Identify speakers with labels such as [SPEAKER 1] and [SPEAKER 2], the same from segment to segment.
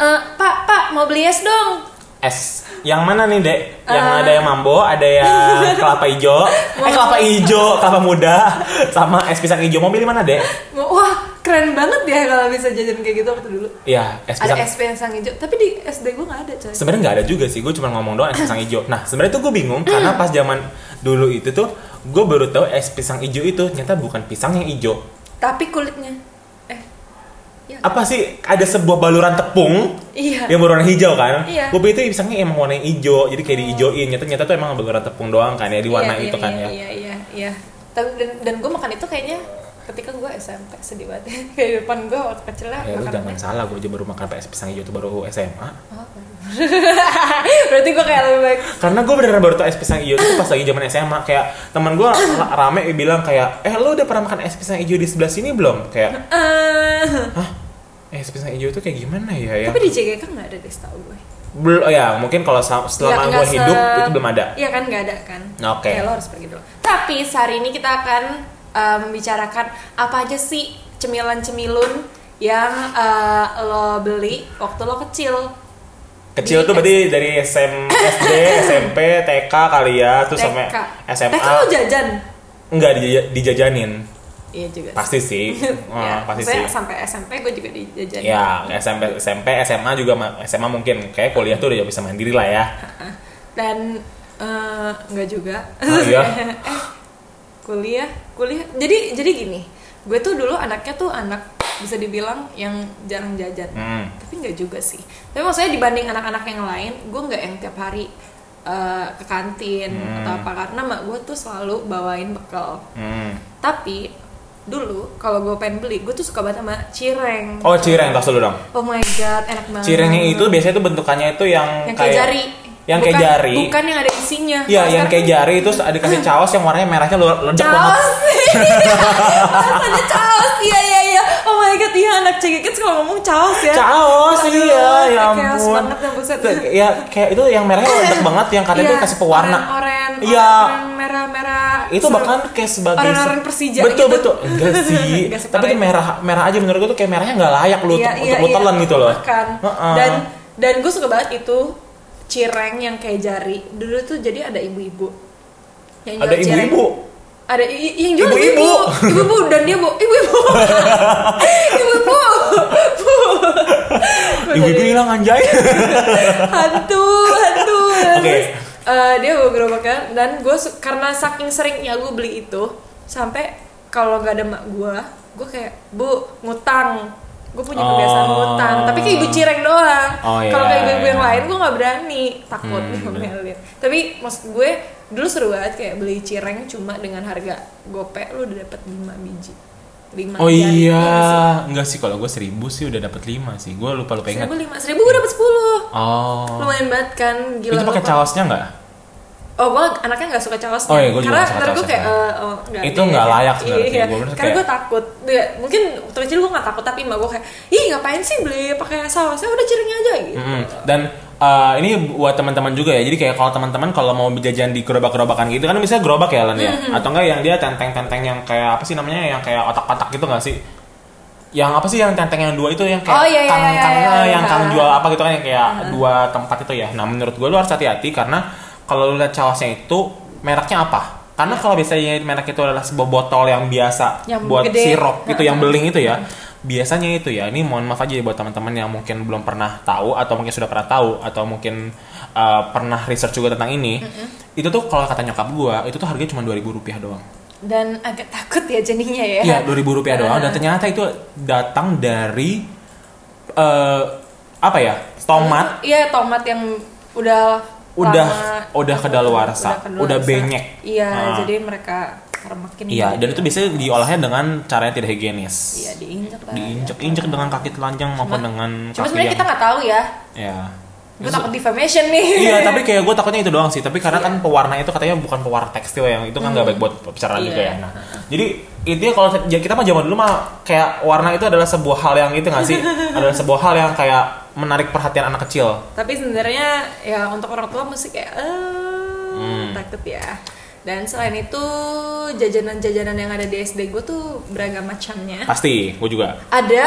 [SPEAKER 1] Eh, beli es dong.
[SPEAKER 2] Es yang mana nih dek? Yang
[SPEAKER 1] Ah.
[SPEAKER 2] ada yang mambo, ada yang kelapa hijau, eh kelapa hijau, kelapa muda, sama es pisang hijau. Mau pilih mana dek?
[SPEAKER 1] Wah, keren banget ya kalau bisa jajan kayak gitu waktu dulu.
[SPEAKER 2] Iya es
[SPEAKER 1] Ada
[SPEAKER 2] pisang.
[SPEAKER 1] es pisang hijau, tapi di SD gue nggak ada coy.
[SPEAKER 2] Sebenarnya nggak ada juga sih, gue cuma ngomong doang es pisang hijau. Nah sebenarnya tuh gue bingung karena pas zaman dulu itu tuh gue baru tahu es pisang hijau itu ternyata bukan pisang yang hijau.
[SPEAKER 1] Tapi kulitnya, eh, iya.
[SPEAKER 2] Apa sih ada sebuah baluran tepung
[SPEAKER 1] Iya.
[SPEAKER 2] yang berwarna hijau kan?
[SPEAKER 1] Iya.
[SPEAKER 2] Gue pikir itu pisangnya emang warna hijau, jadi kayak diijoin. Nyata nyata tuh emang baluran tepung doang kan ya, diwarna
[SPEAKER 1] Iya,
[SPEAKER 2] itu
[SPEAKER 1] iya,
[SPEAKER 2] kan
[SPEAKER 1] iya,
[SPEAKER 2] ya.
[SPEAKER 1] Iya, iya, iya. Tapi dan, dan gue makan itu kayaknya ketika gue SMP sedih banget kayak depan gue waktu kecil lah
[SPEAKER 2] Ya lu
[SPEAKER 1] makan
[SPEAKER 2] jangan
[SPEAKER 1] es.
[SPEAKER 2] salah, gue aja baru makan es pisang hijau itu baru SMA.
[SPEAKER 1] Oh, berarti gue kayak lebih baik
[SPEAKER 2] Karena gue beneran baru tau es pisang hijau itu pas lagi zaman SMA Kayak teman gue ra- rame bilang kayak Eh lu udah pernah makan es pisang hijau di sebelah sini belum? Kayak
[SPEAKER 1] Eh,
[SPEAKER 2] Hah? Es pisang hijau itu kayak gimana ya? ya?
[SPEAKER 1] tapi di JGK nggak ada deh setahu gue
[SPEAKER 2] Bel- oh ya mungkin kalau sa-
[SPEAKER 1] Nggak-
[SPEAKER 2] selama
[SPEAKER 1] Iya, nggak
[SPEAKER 2] gue hidup
[SPEAKER 1] se-
[SPEAKER 2] itu belum ada
[SPEAKER 1] Iya kan nggak ada kan.
[SPEAKER 2] Oke.
[SPEAKER 1] Ya, lo harus pergi dulu. Tapi sehari ini kita akan eh, membicarakan apa aja sih cemilan-cemilun yang eh, lo beli waktu lo kecil.
[SPEAKER 2] Kecil
[SPEAKER 1] Di
[SPEAKER 2] tuh berarti dari SM, SD, SMP, TK kali ya Terus sampai
[SPEAKER 1] TK.
[SPEAKER 2] SMA
[SPEAKER 1] TK lo jajan.
[SPEAKER 2] Enggak dija- dijajanin
[SPEAKER 1] Iya juga.
[SPEAKER 2] Pasti sih
[SPEAKER 1] ya,
[SPEAKER 2] Wah, Pasti sih
[SPEAKER 1] maksudnya sampai SMP gue juga dijajan.
[SPEAKER 2] Ya SMP, SMP, SMA juga ma- SMA mungkin Kayak kuliah tuh udah bisa mandiri lah ya
[SPEAKER 1] Dan eh, nggak juga.
[SPEAKER 2] Oh, iya?
[SPEAKER 1] Eh, kuliah, kuliah. Jadi jadi gini, gue tuh dulu anaknya tuh anak bisa dibilang yang jarang jajan.
[SPEAKER 2] Hmm.
[SPEAKER 1] tapi nggak juga sih tapi maksudnya dibanding anak-anak yang lain gue nggak yang tiap hari eh, ke kantin atau apa karena mak gue tuh selalu bawain bekal
[SPEAKER 2] Hmm.
[SPEAKER 1] tapi dulu kalau gue pengen beli gue tuh suka banget sama cireng
[SPEAKER 2] Oh cireng, tas dulu dong
[SPEAKER 1] Oh my god enak banget
[SPEAKER 2] Cirengnya itu biasanya tuh bentukannya itu yang,
[SPEAKER 1] yang kayak jari
[SPEAKER 2] Yang kayak
[SPEAKER 1] Bukan-
[SPEAKER 2] jari.
[SPEAKER 1] bukan yang ada isinya Kalau
[SPEAKER 2] Iya, yang
[SPEAKER 1] sekarang
[SPEAKER 2] kayak jari itu dikasih caos yang warnanya merahnya lu- ledak banget.
[SPEAKER 1] Caos Iya, Rasanya caos Iya iya iya Oh my god Iya anak cengkeh Kids kalau ngomong caos ya
[SPEAKER 2] Caos
[SPEAKER 1] Aduh,
[SPEAKER 2] iya, ya
[SPEAKER 1] Chaos
[SPEAKER 2] ampun.
[SPEAKER 1] banget yang buset
[SPEAKER 2] Tuh, Ya kayak itu yang merahnya ledak banget yang kadang
[SPEAKER 1] Iya,
[SPEAKER 2] tuh kasih pewarna.
[SPEAKER 1] Oren, oren,
[SPEAKER 2] Iya.
[SPEAKER 1] oren, merah, merah.
[SPEAKER 2] Itu
[SPEAKER 1] seru.
[SPEAKER 2] bahkan kayak sebagai
[SPEAKER 1] Oren-oren Persija
[SPEAKER 2] Betul,
[SPEAKER 1] gitu.
[SPEAKER 2] betul. Enggak sih.
[SPEAKER 1] Enggak separah
[SPEAKER 2] Tapi tuh
[SPEAKER 1] itu.
[SPEAKER 2] merah merah aja menurut gue tuh kayak merahnya enggak layak
[SPEAKER 1] Iya,
[SPEAKER 2] lu untuk,
[SPEAKER 1] iya,
[SPEAKER 2] untuk lu
[SPEAKER 1] iya,
[SPEAKER 2] telan gitu loh.
[SPEAKER 1] Makan.
[SPEAKER 2] Heeh.
[SPEAKER 1] Dan dan gue suka banget itu cireng yang kayak jari. Dulu tuh jadi ada ibu-ibu. Yang
[SPEAKER 2] ada
[SPEAKER 1] jual cireng.
[SPEAKER 2] ibu-ibu.
[SPEAKER 1] Ada i- i- yang jual
[SPEAKER 2] Ibu-ibu.
[SPEAKER 1] ibu-ibu. Ibu-ibu dan dia bu, ibu-ibu. Ibu-ibu. Bu.
[SPEAKER 2] Ibu-ibu hilang anjay.
[SPEAKER 1] Iya, hantu hantu
[SPEAKER 2] Oke.
[SPEAKER 1] Terus, eh, dia bawa gerobaknya dan gue karena saking seringnya gue beli itu sampai kalau nggak ada mak gue gue kayak bu ngutang gue punya kebiasaan
[SPEAKER 2] Oh.
[SPEAKER 1] ngutang tapi kayak ibu cireng doang
[SPEAKER 2] Oh, iya,
[SPEAKER 1] kalau kayak ibu-ibu yang
[SPEAKER 2] iya.
[SPEAKER 1] lain gue nggak berani takut
[SPEAKER 2] Hmm,
[SPEAKER 1] diomelin tapi maksud gue dulu seru banget kayak beli cireng cuma dengan harga gope lu udah dapet 5 biji 5
[SPEAKER 2] Oh iya, enggak sih kalau gue seribu sih udah dapet lima sih. Gue lupa lupa ingat.
[SPEAKER 1] seribu lima seribu gue dapet 10
[SPEAKER 2] Oh.
[SPEAKER 1] lumayan banget kan gila
[SPEAKER 2] itu pakai
[SPEAKER 1] lupa.
[SPEAKER 2] caosnya nggak?
[SPEAKER 1] Oh, gue anaknya gak suka caosnya.
[SPEAKER 2] Oh iya, gua
[SPEAKER 1] Karena
[SPEAKER 2] juga nggak suka
[SPEAKER 1] ntar gue
[SPEAKER 2] caosnya.
[SPEAKER 1] kayak, eh, oh, nggak
[SPEAKER 2] Itu
[SPEAKER 1] deh.
[SPEAKER 2] nggak layak sebenarnya,
[SPEAKER 1] Iya.
[SPEAKER 2] gua bener
[SPEAKER 1] Karena
[SPEAKER 2] kayak-
[SPEAKER 1] gue takut. Ya, mungkin waktu kecil gue gak takut, tapi emak gue kayak, ih ngapain sih beli pakai sausnya udah cirengnya aja gitu.
[SPEAKER 2] Mm-mm. Hmm. Dan uh, ini buat teman-teman juga ya. Jadi kayak kalau teman-teman kalau mau jajan di gerobak-gerobakan gitu kan misalnya gerobak ya Lan ya.
[SPEAKER 1] Hmm.
[SPEAKER 2] Atau enggak yang dia tenteng-tenteng yang kayak apa sih namanya yang kayak otak-otak gitu enggak sih? Yang apa sih yang tenteng yang dua itu yang kayak
[SPEAKER 1] Oh, iya, iya,
[SPEAKER 2] kang
[SPEAKER 1] iya,
[SPEAKER 2] kang-
[SPEAKER 1] iya, iya.
[SPEAKER 2] yang kang jual apa gitu kan yang kayak dua tempat itu ya. Nah, menurut gue lu harus hati-hati karena kalau lu lihat cawasnya itu mereknya apa? Karena kalau biasanya merek itu adalah sebuah botol yang biasa
[SPEAKER 1] Iya. Yang
[SPEAKER 2] buat
[SPEAKER 1] gede.
[SPEAKER 2] sirup gitu yang beling itu ya biasanya itu ya ini mohon maaf aja ya buat teman-teman yang mungkin belum pernah tahu atau mungkin sudah pernah tahu atau mungkin uh, pernah research juga tentang ini itu tuh kalau kata nyokap gua itu tuh harganya cuma dua ribu rupiah doang
[SPEAKER 1] Dan agak takut ya jadinya ya.
[SPEAKER 2] Iya dua ribu rupiah doang dan ternyata itu datang dari uh, apa ya tomat
[SPEAKER 1] Iya, tomat yang udah
[SPEAKER 2] udah
[SPEAKER 1] lama-
[SPEAKER 2] udah kedaluarsa udah,
[SPEAKER 1] kedaluarsa.
[SPEAKER 2] benyek
[SPEAKER 1] Iya,
[SPEAKER 2] Nah,
[SPEAKER 1] jadi mereka termakin.
[SPEAKER 2] iya dan itu biasanya diolahnya dengan cara yang tidak higienis
[SPEAKER 1] Iya, diinjek lah.
[SPEAKER 2] diinjek-injek dengan kaki telanjang maupun dengan
[SPEAKER 1] Cuma
[SPEAKER 2] kaki
[SPEAKER 1] sebenarnya
[SPEAKER 2] yang
[SPEAKER 1] kita nggak tahu ya.
[SPEAKER 2] ya
[SPEAKER 1] Gue takut defamation nih.
[SPEAKER 2] iya tapi kayak gue takutnya itu doang sih tapi
[SPEAKER 1] Iya.
[SPEAKER 2] karena kan pewarna itu katanya bukan pewarna tekstil yang itu kan nggak baik buat pencernaan
[SPEAKER 1] Iya.
[SPEAKER 2] juga ya nah jadi intinya kalau ya kita mah zaman dulu mah kayak warna itu adalah sebuah hal yang itu nggak sih adalah sebuah hal yang kayak menarik perhatian anak kecil
[SPEAKER 1] tapi sebenarnya ya untuk orang tua mesti kayak eh
[SPEAKER 2] Hmm.
[SPEAKER 1] takut ya dan selain itu jajanan-jajanan yang ada di SD gue tuh beragam macamnya
[SPEAKER 2] pasti gue juga
[SPEAKER 1] ada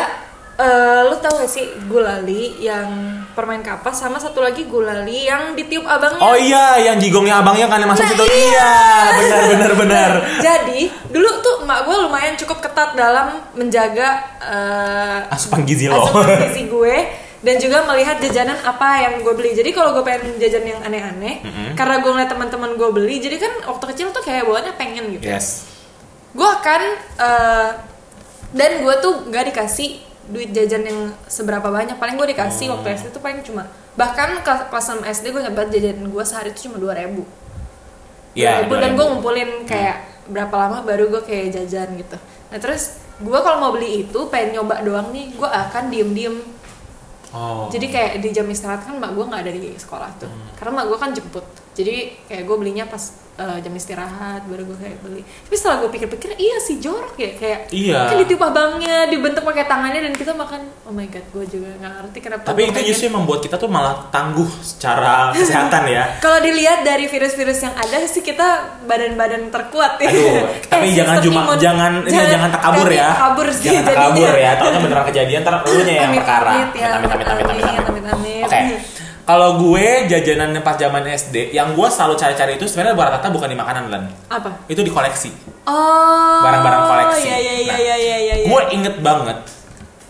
[SPEAKER 1] eh, lu tau gak sih gulali yang permen kapas sama satu lagi gulali yang ditiup abangnya
[SPEAKER 2] Oh iya, yang jigongnya abangnya kan yang masuk
[SPEAKER 1] Nah,
[SPEAKER 2] situ.
[SPEAKER 1] iya.
[SPEAKER 2] Iya, benar benar benar.
[SPEAKER 1] Jadi dulu tuh emak gue lumayan cukup ketat dalam menjaga eh,
[SPEAKER 2] Asupan gizi lo.
[SPEAKER 1] asupan gizi gue dan juga melihat jajanan apa yang gue beli. Jadi kalau gue pengen jajan yang aneh-aneh, karena gue ngeliat teman-teman gue beli, jadi kan waktu kecil tuh kayak bawaannya pengen gitu.
[SPEAKER 2] Yes.
[SPEAKER 1] Gue akan eh, dan gue tuh nggak dikasih duit jajan yang seberapa banyak. Paling gue dikasih waktu SD tuh paling cuma bahkan kelas kelas 6 SD gue nyebat jajan gue sehari tuh cuma dua ribu.
[SPEAKER 2] Iya.
[SPEAKER 1] 2000, dan gue
[SPEAKER 2] 2000.
[SPEAKER 1] ngumpulin kayak berapa lama baru gue kayak jajan gitu nah terus gue kalau mau beli itu pengen nyoba doang nih gue akan diem diem
[SPEAKER 2] Oh. Hmm.
[SPEAKER 1] jadi kayak di jam istirahat kan mak gue nggak ada di sekolah tuh karena mak gue kan jemput jadi kayak gue belinya pas eh, jam istirahat baru gue kayak beli tapi setelah gue pikir-pikir iya sih jorok ya kayak
[SPEAKER 2] Iya.
[SPEAKER 1] kan ditiup abangnya dibentuk pakai tangannya dan kita makan oh my god gue juga nggak ngerti kenapa
[SPEAKER 2] Tapi
[SPEAKER 1] gua
[SPEAKER 2] itu
[SPEAKER 1] pengen.
[SPEAKER 2] justru yang membuat kita tuh malah tangguh secara kesehatan ya.
[SPEAKER 1] kalau dilihat dari virus-virus yang ada sih kita badan-badan terkuat ya.
[SPEAKER 2] Aduh, tapi
[SPEAKER 1] Eh,
[SPEAKER 2] jangan
[SPEAKER 1] sistem
[SPEAKER 2] cuma
[SPEAKER 1] imun.
[SPEAKER 2] jangan ini jangan takabur
[SPEAKER 1] tapi
[SPEAKER 2] ya.
[SPEAKER 1] Takabur sih
[SPEAKER 2] jangan
[SPEAKER 1] jadinya.
[SPEAKER 2] takabur ya. Takutnya beneran kejadian ntar lu nya yang
[SPEAKER 1] Amit-amit
[SPEAKER 2] perkara.
[SPEAKER 1] ya.
[SPEAKER 2] Amit amit amit amit
[SPEAKER 1] Amit,
[SPEAKER 2] amit.
[SPEAKER 1] amit, amit.
[SPEAKER 2] Oke. Kalau gue jajanan pas zaman SD, yang gue selalu cari-cari itu sebenarnya rata-rata bukan di makanan lan.
[SPEAKER 1] Apa?
[SPEAKER 2] Itu di koleksi.
[SPEAKER 1] Oh.
[SPEAKER 2] Barang-barang koleksi.
[SPEAKER 1] Iya iya iya
[SPEAKER 2] Nah,
[SPEAKER 1] iya iya iya.
[SPEAKER 2] gue inget banget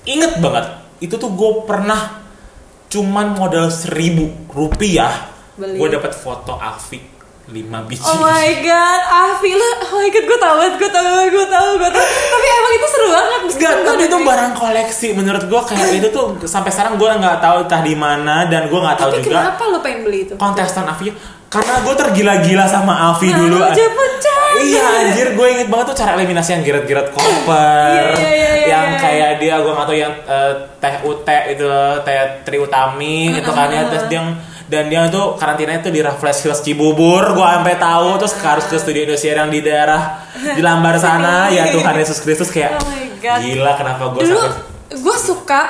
[SPEAKER 2] inget banget itu tuh gue pernah cuman modal seribu rupiah
[SPEAKER 1] Beli.
[SPEAKER 2] gue dapat foto Afik 5 biji
[SPEAKER 1] Oh my god, Afi lu, oh my god, gue tau banget, gue tau banget, gue tau, gue tau. Tapi emang itu seru banget.
[SPEAKER 2] Enggak, tapi itu barang koleksi menurut gue kayak itu tuh sampai sekarang gue nggak tahu entah di mana dan gue nggak tahu
[SPEAKER 1] Tapi
[SPEAKER 2] juga
[SPEAKER 1] kenapa lo pengen beli itu?
[SPEAKER 2] kontestan Afi karena gue tergila-gila sama Afi dulu
[SPEAKER 1] Nah, aja percaya.
[SPEAKER 2] Iya anjir, gue inget banget tuh cara eliminasi yang geret-geret koper,
[SPEAKER 1] Iya, iya, iya,
[SPEAKER 2] yang
[SPEAKER 1] iya.
[SPEAKER 2] kayak dia gue nggak tahu yang eh, teh ut itu teh Tri Utami gitu kan ya, terus dia yang- dan dia tuh karantinanya tuh di Raffles Hills Cibubur, gue sampai tahu terus harus ke studio Indonesia yang di daerah di Lambar sana, ya Tuhan Yesus Kristus kayak
[SPEAKER 1] Iya. Oh my God.
[SPEAKER 2] gila kenapa gue
[SPEAKER 1] Dulu
[SPEAKER 2] sampai
[SPEAKER 1] gue suka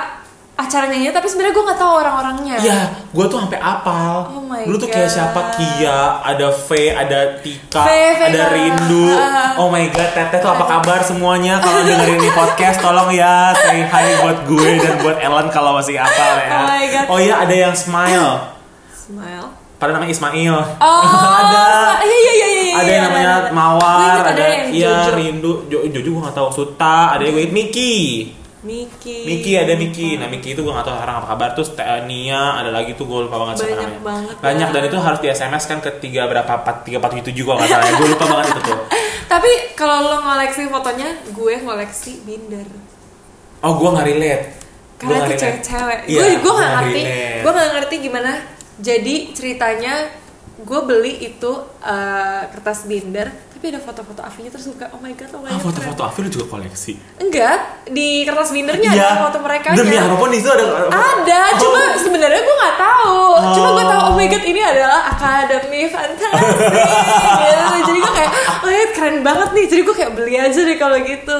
[SPEAKER 1] acaranya ini, tapi sebenarnya gue nggak tahu orang-orangnya.
[SPEAKER 2] Iya, gue tuh sampai apal.
[SPEAKER 1] Oh my
[SPEAKER 2] Dulu tuh kayak
[SPEAKER 1] God.
[SPEAKER 2] siapa Kia, ada V, ada Tika,
[SPEAKER 1] V, V, Uh-huh.
[SPEAKER 2] ada
[SPEAKER 1] ah,
[SPEAKER 2] Rindu.
[SPEAKER 1] ah.
[SPEAKER 2] Oh my god, Teteh tuh apa kabar semuanya? Kalau dengerin ini podcast, tolong ya say hi buat gue dan buat Ellen kalau masih apal ya.
[SPEAKER 1] Oh my God.
[SPEAKER 2] Oh iya, ada yang Smile.
[SPEAKER 1] Smile.
[SPEAKER 2] Padahal namanya Ismail.
[SPEAKER 1] Oh,
[SPEAKER 2] ada.
[SPEAKER 1] Iya iya iya iya.
[SPEAKER 2] Ada
[SPEAKER 1] iya,
[SPEAKER 2] yang namanya
[SPEAKER 1] ada. Gua
[SPEAKER 2] Mawar,
[SPEAKER 1] ingat
[SPEAKER 2] ada,
[SPEAKER 1] yang
[SPEAKER 2] iya
[SPEAKER 1] Jojo.
[SPEAKER 2] Rindu, Jo- Jojo gue gak tau, Suta, ada yang gue Miki.
[SPEAKER 1] Miki.
[SPEAKER 2] Miki
[SPEAKER 1] Ah.
[SPEAKER 2] ada Miki, nah Miki itu gue gak tau sekarang apa kabar Terus Teh Nia ada lagi tuh gue lupa banget siapa
[SPEAKER 1] Banyak banget. ya.
[SPEAKER 2] Banyak dan itu harus di SMS kan ke tiga berapa empat tiga empat tujuh gue gak salah ya gue lupa banget itu tuh.
[SPEAKER 1] Tapi kalau lo ngoleksi fotonya, gue ngoleksi binder.
[SPEAKER 2] Oh gue nggak relate.
[SPEAKER 1] Karena
[SPEAKER 2] Gua nggak
[SPEAKER 1] itu
[SPEAKER 2] relate.
[SPEAKER 1] cewek-cewek.
[SPEAKER 2] Iya,
[SPEAKER 1] gue gue
[SPEAKER 2] gua
[SPEAKER 1] nggak ngerti.
[SPEAKER 2] relate.
[SPEAKER 1] Gue nggak ngerti gimana. Jadi ceritanya gue beli itu eh, kertas binder, tapi ada foto-foto Avinya terus gue kayak, oh my god, oh my
[SPEAKER 2] Ah
[SPEAKER 1] god.
[SPEAKER 2] foto-foto Afil juga koleksi.
[SPEAKER 1] Enggak, di kertas bindernya ada Iya, foto mereka.
[SPEAKER 2] Iya, Demi apapun itu ada.
[SPEAKER 1] Ada,
[SPEAKER 2] Oh,
[SPEAKER 1] cuma sebenarnya gue nggak tahu. Cuma gue tahu oh my god ini adalah akademi fantasi. gitu. Jadi gue kayak, oh my God, keren banget nih. Jadi gue kayak beli aja deh kalau gitu.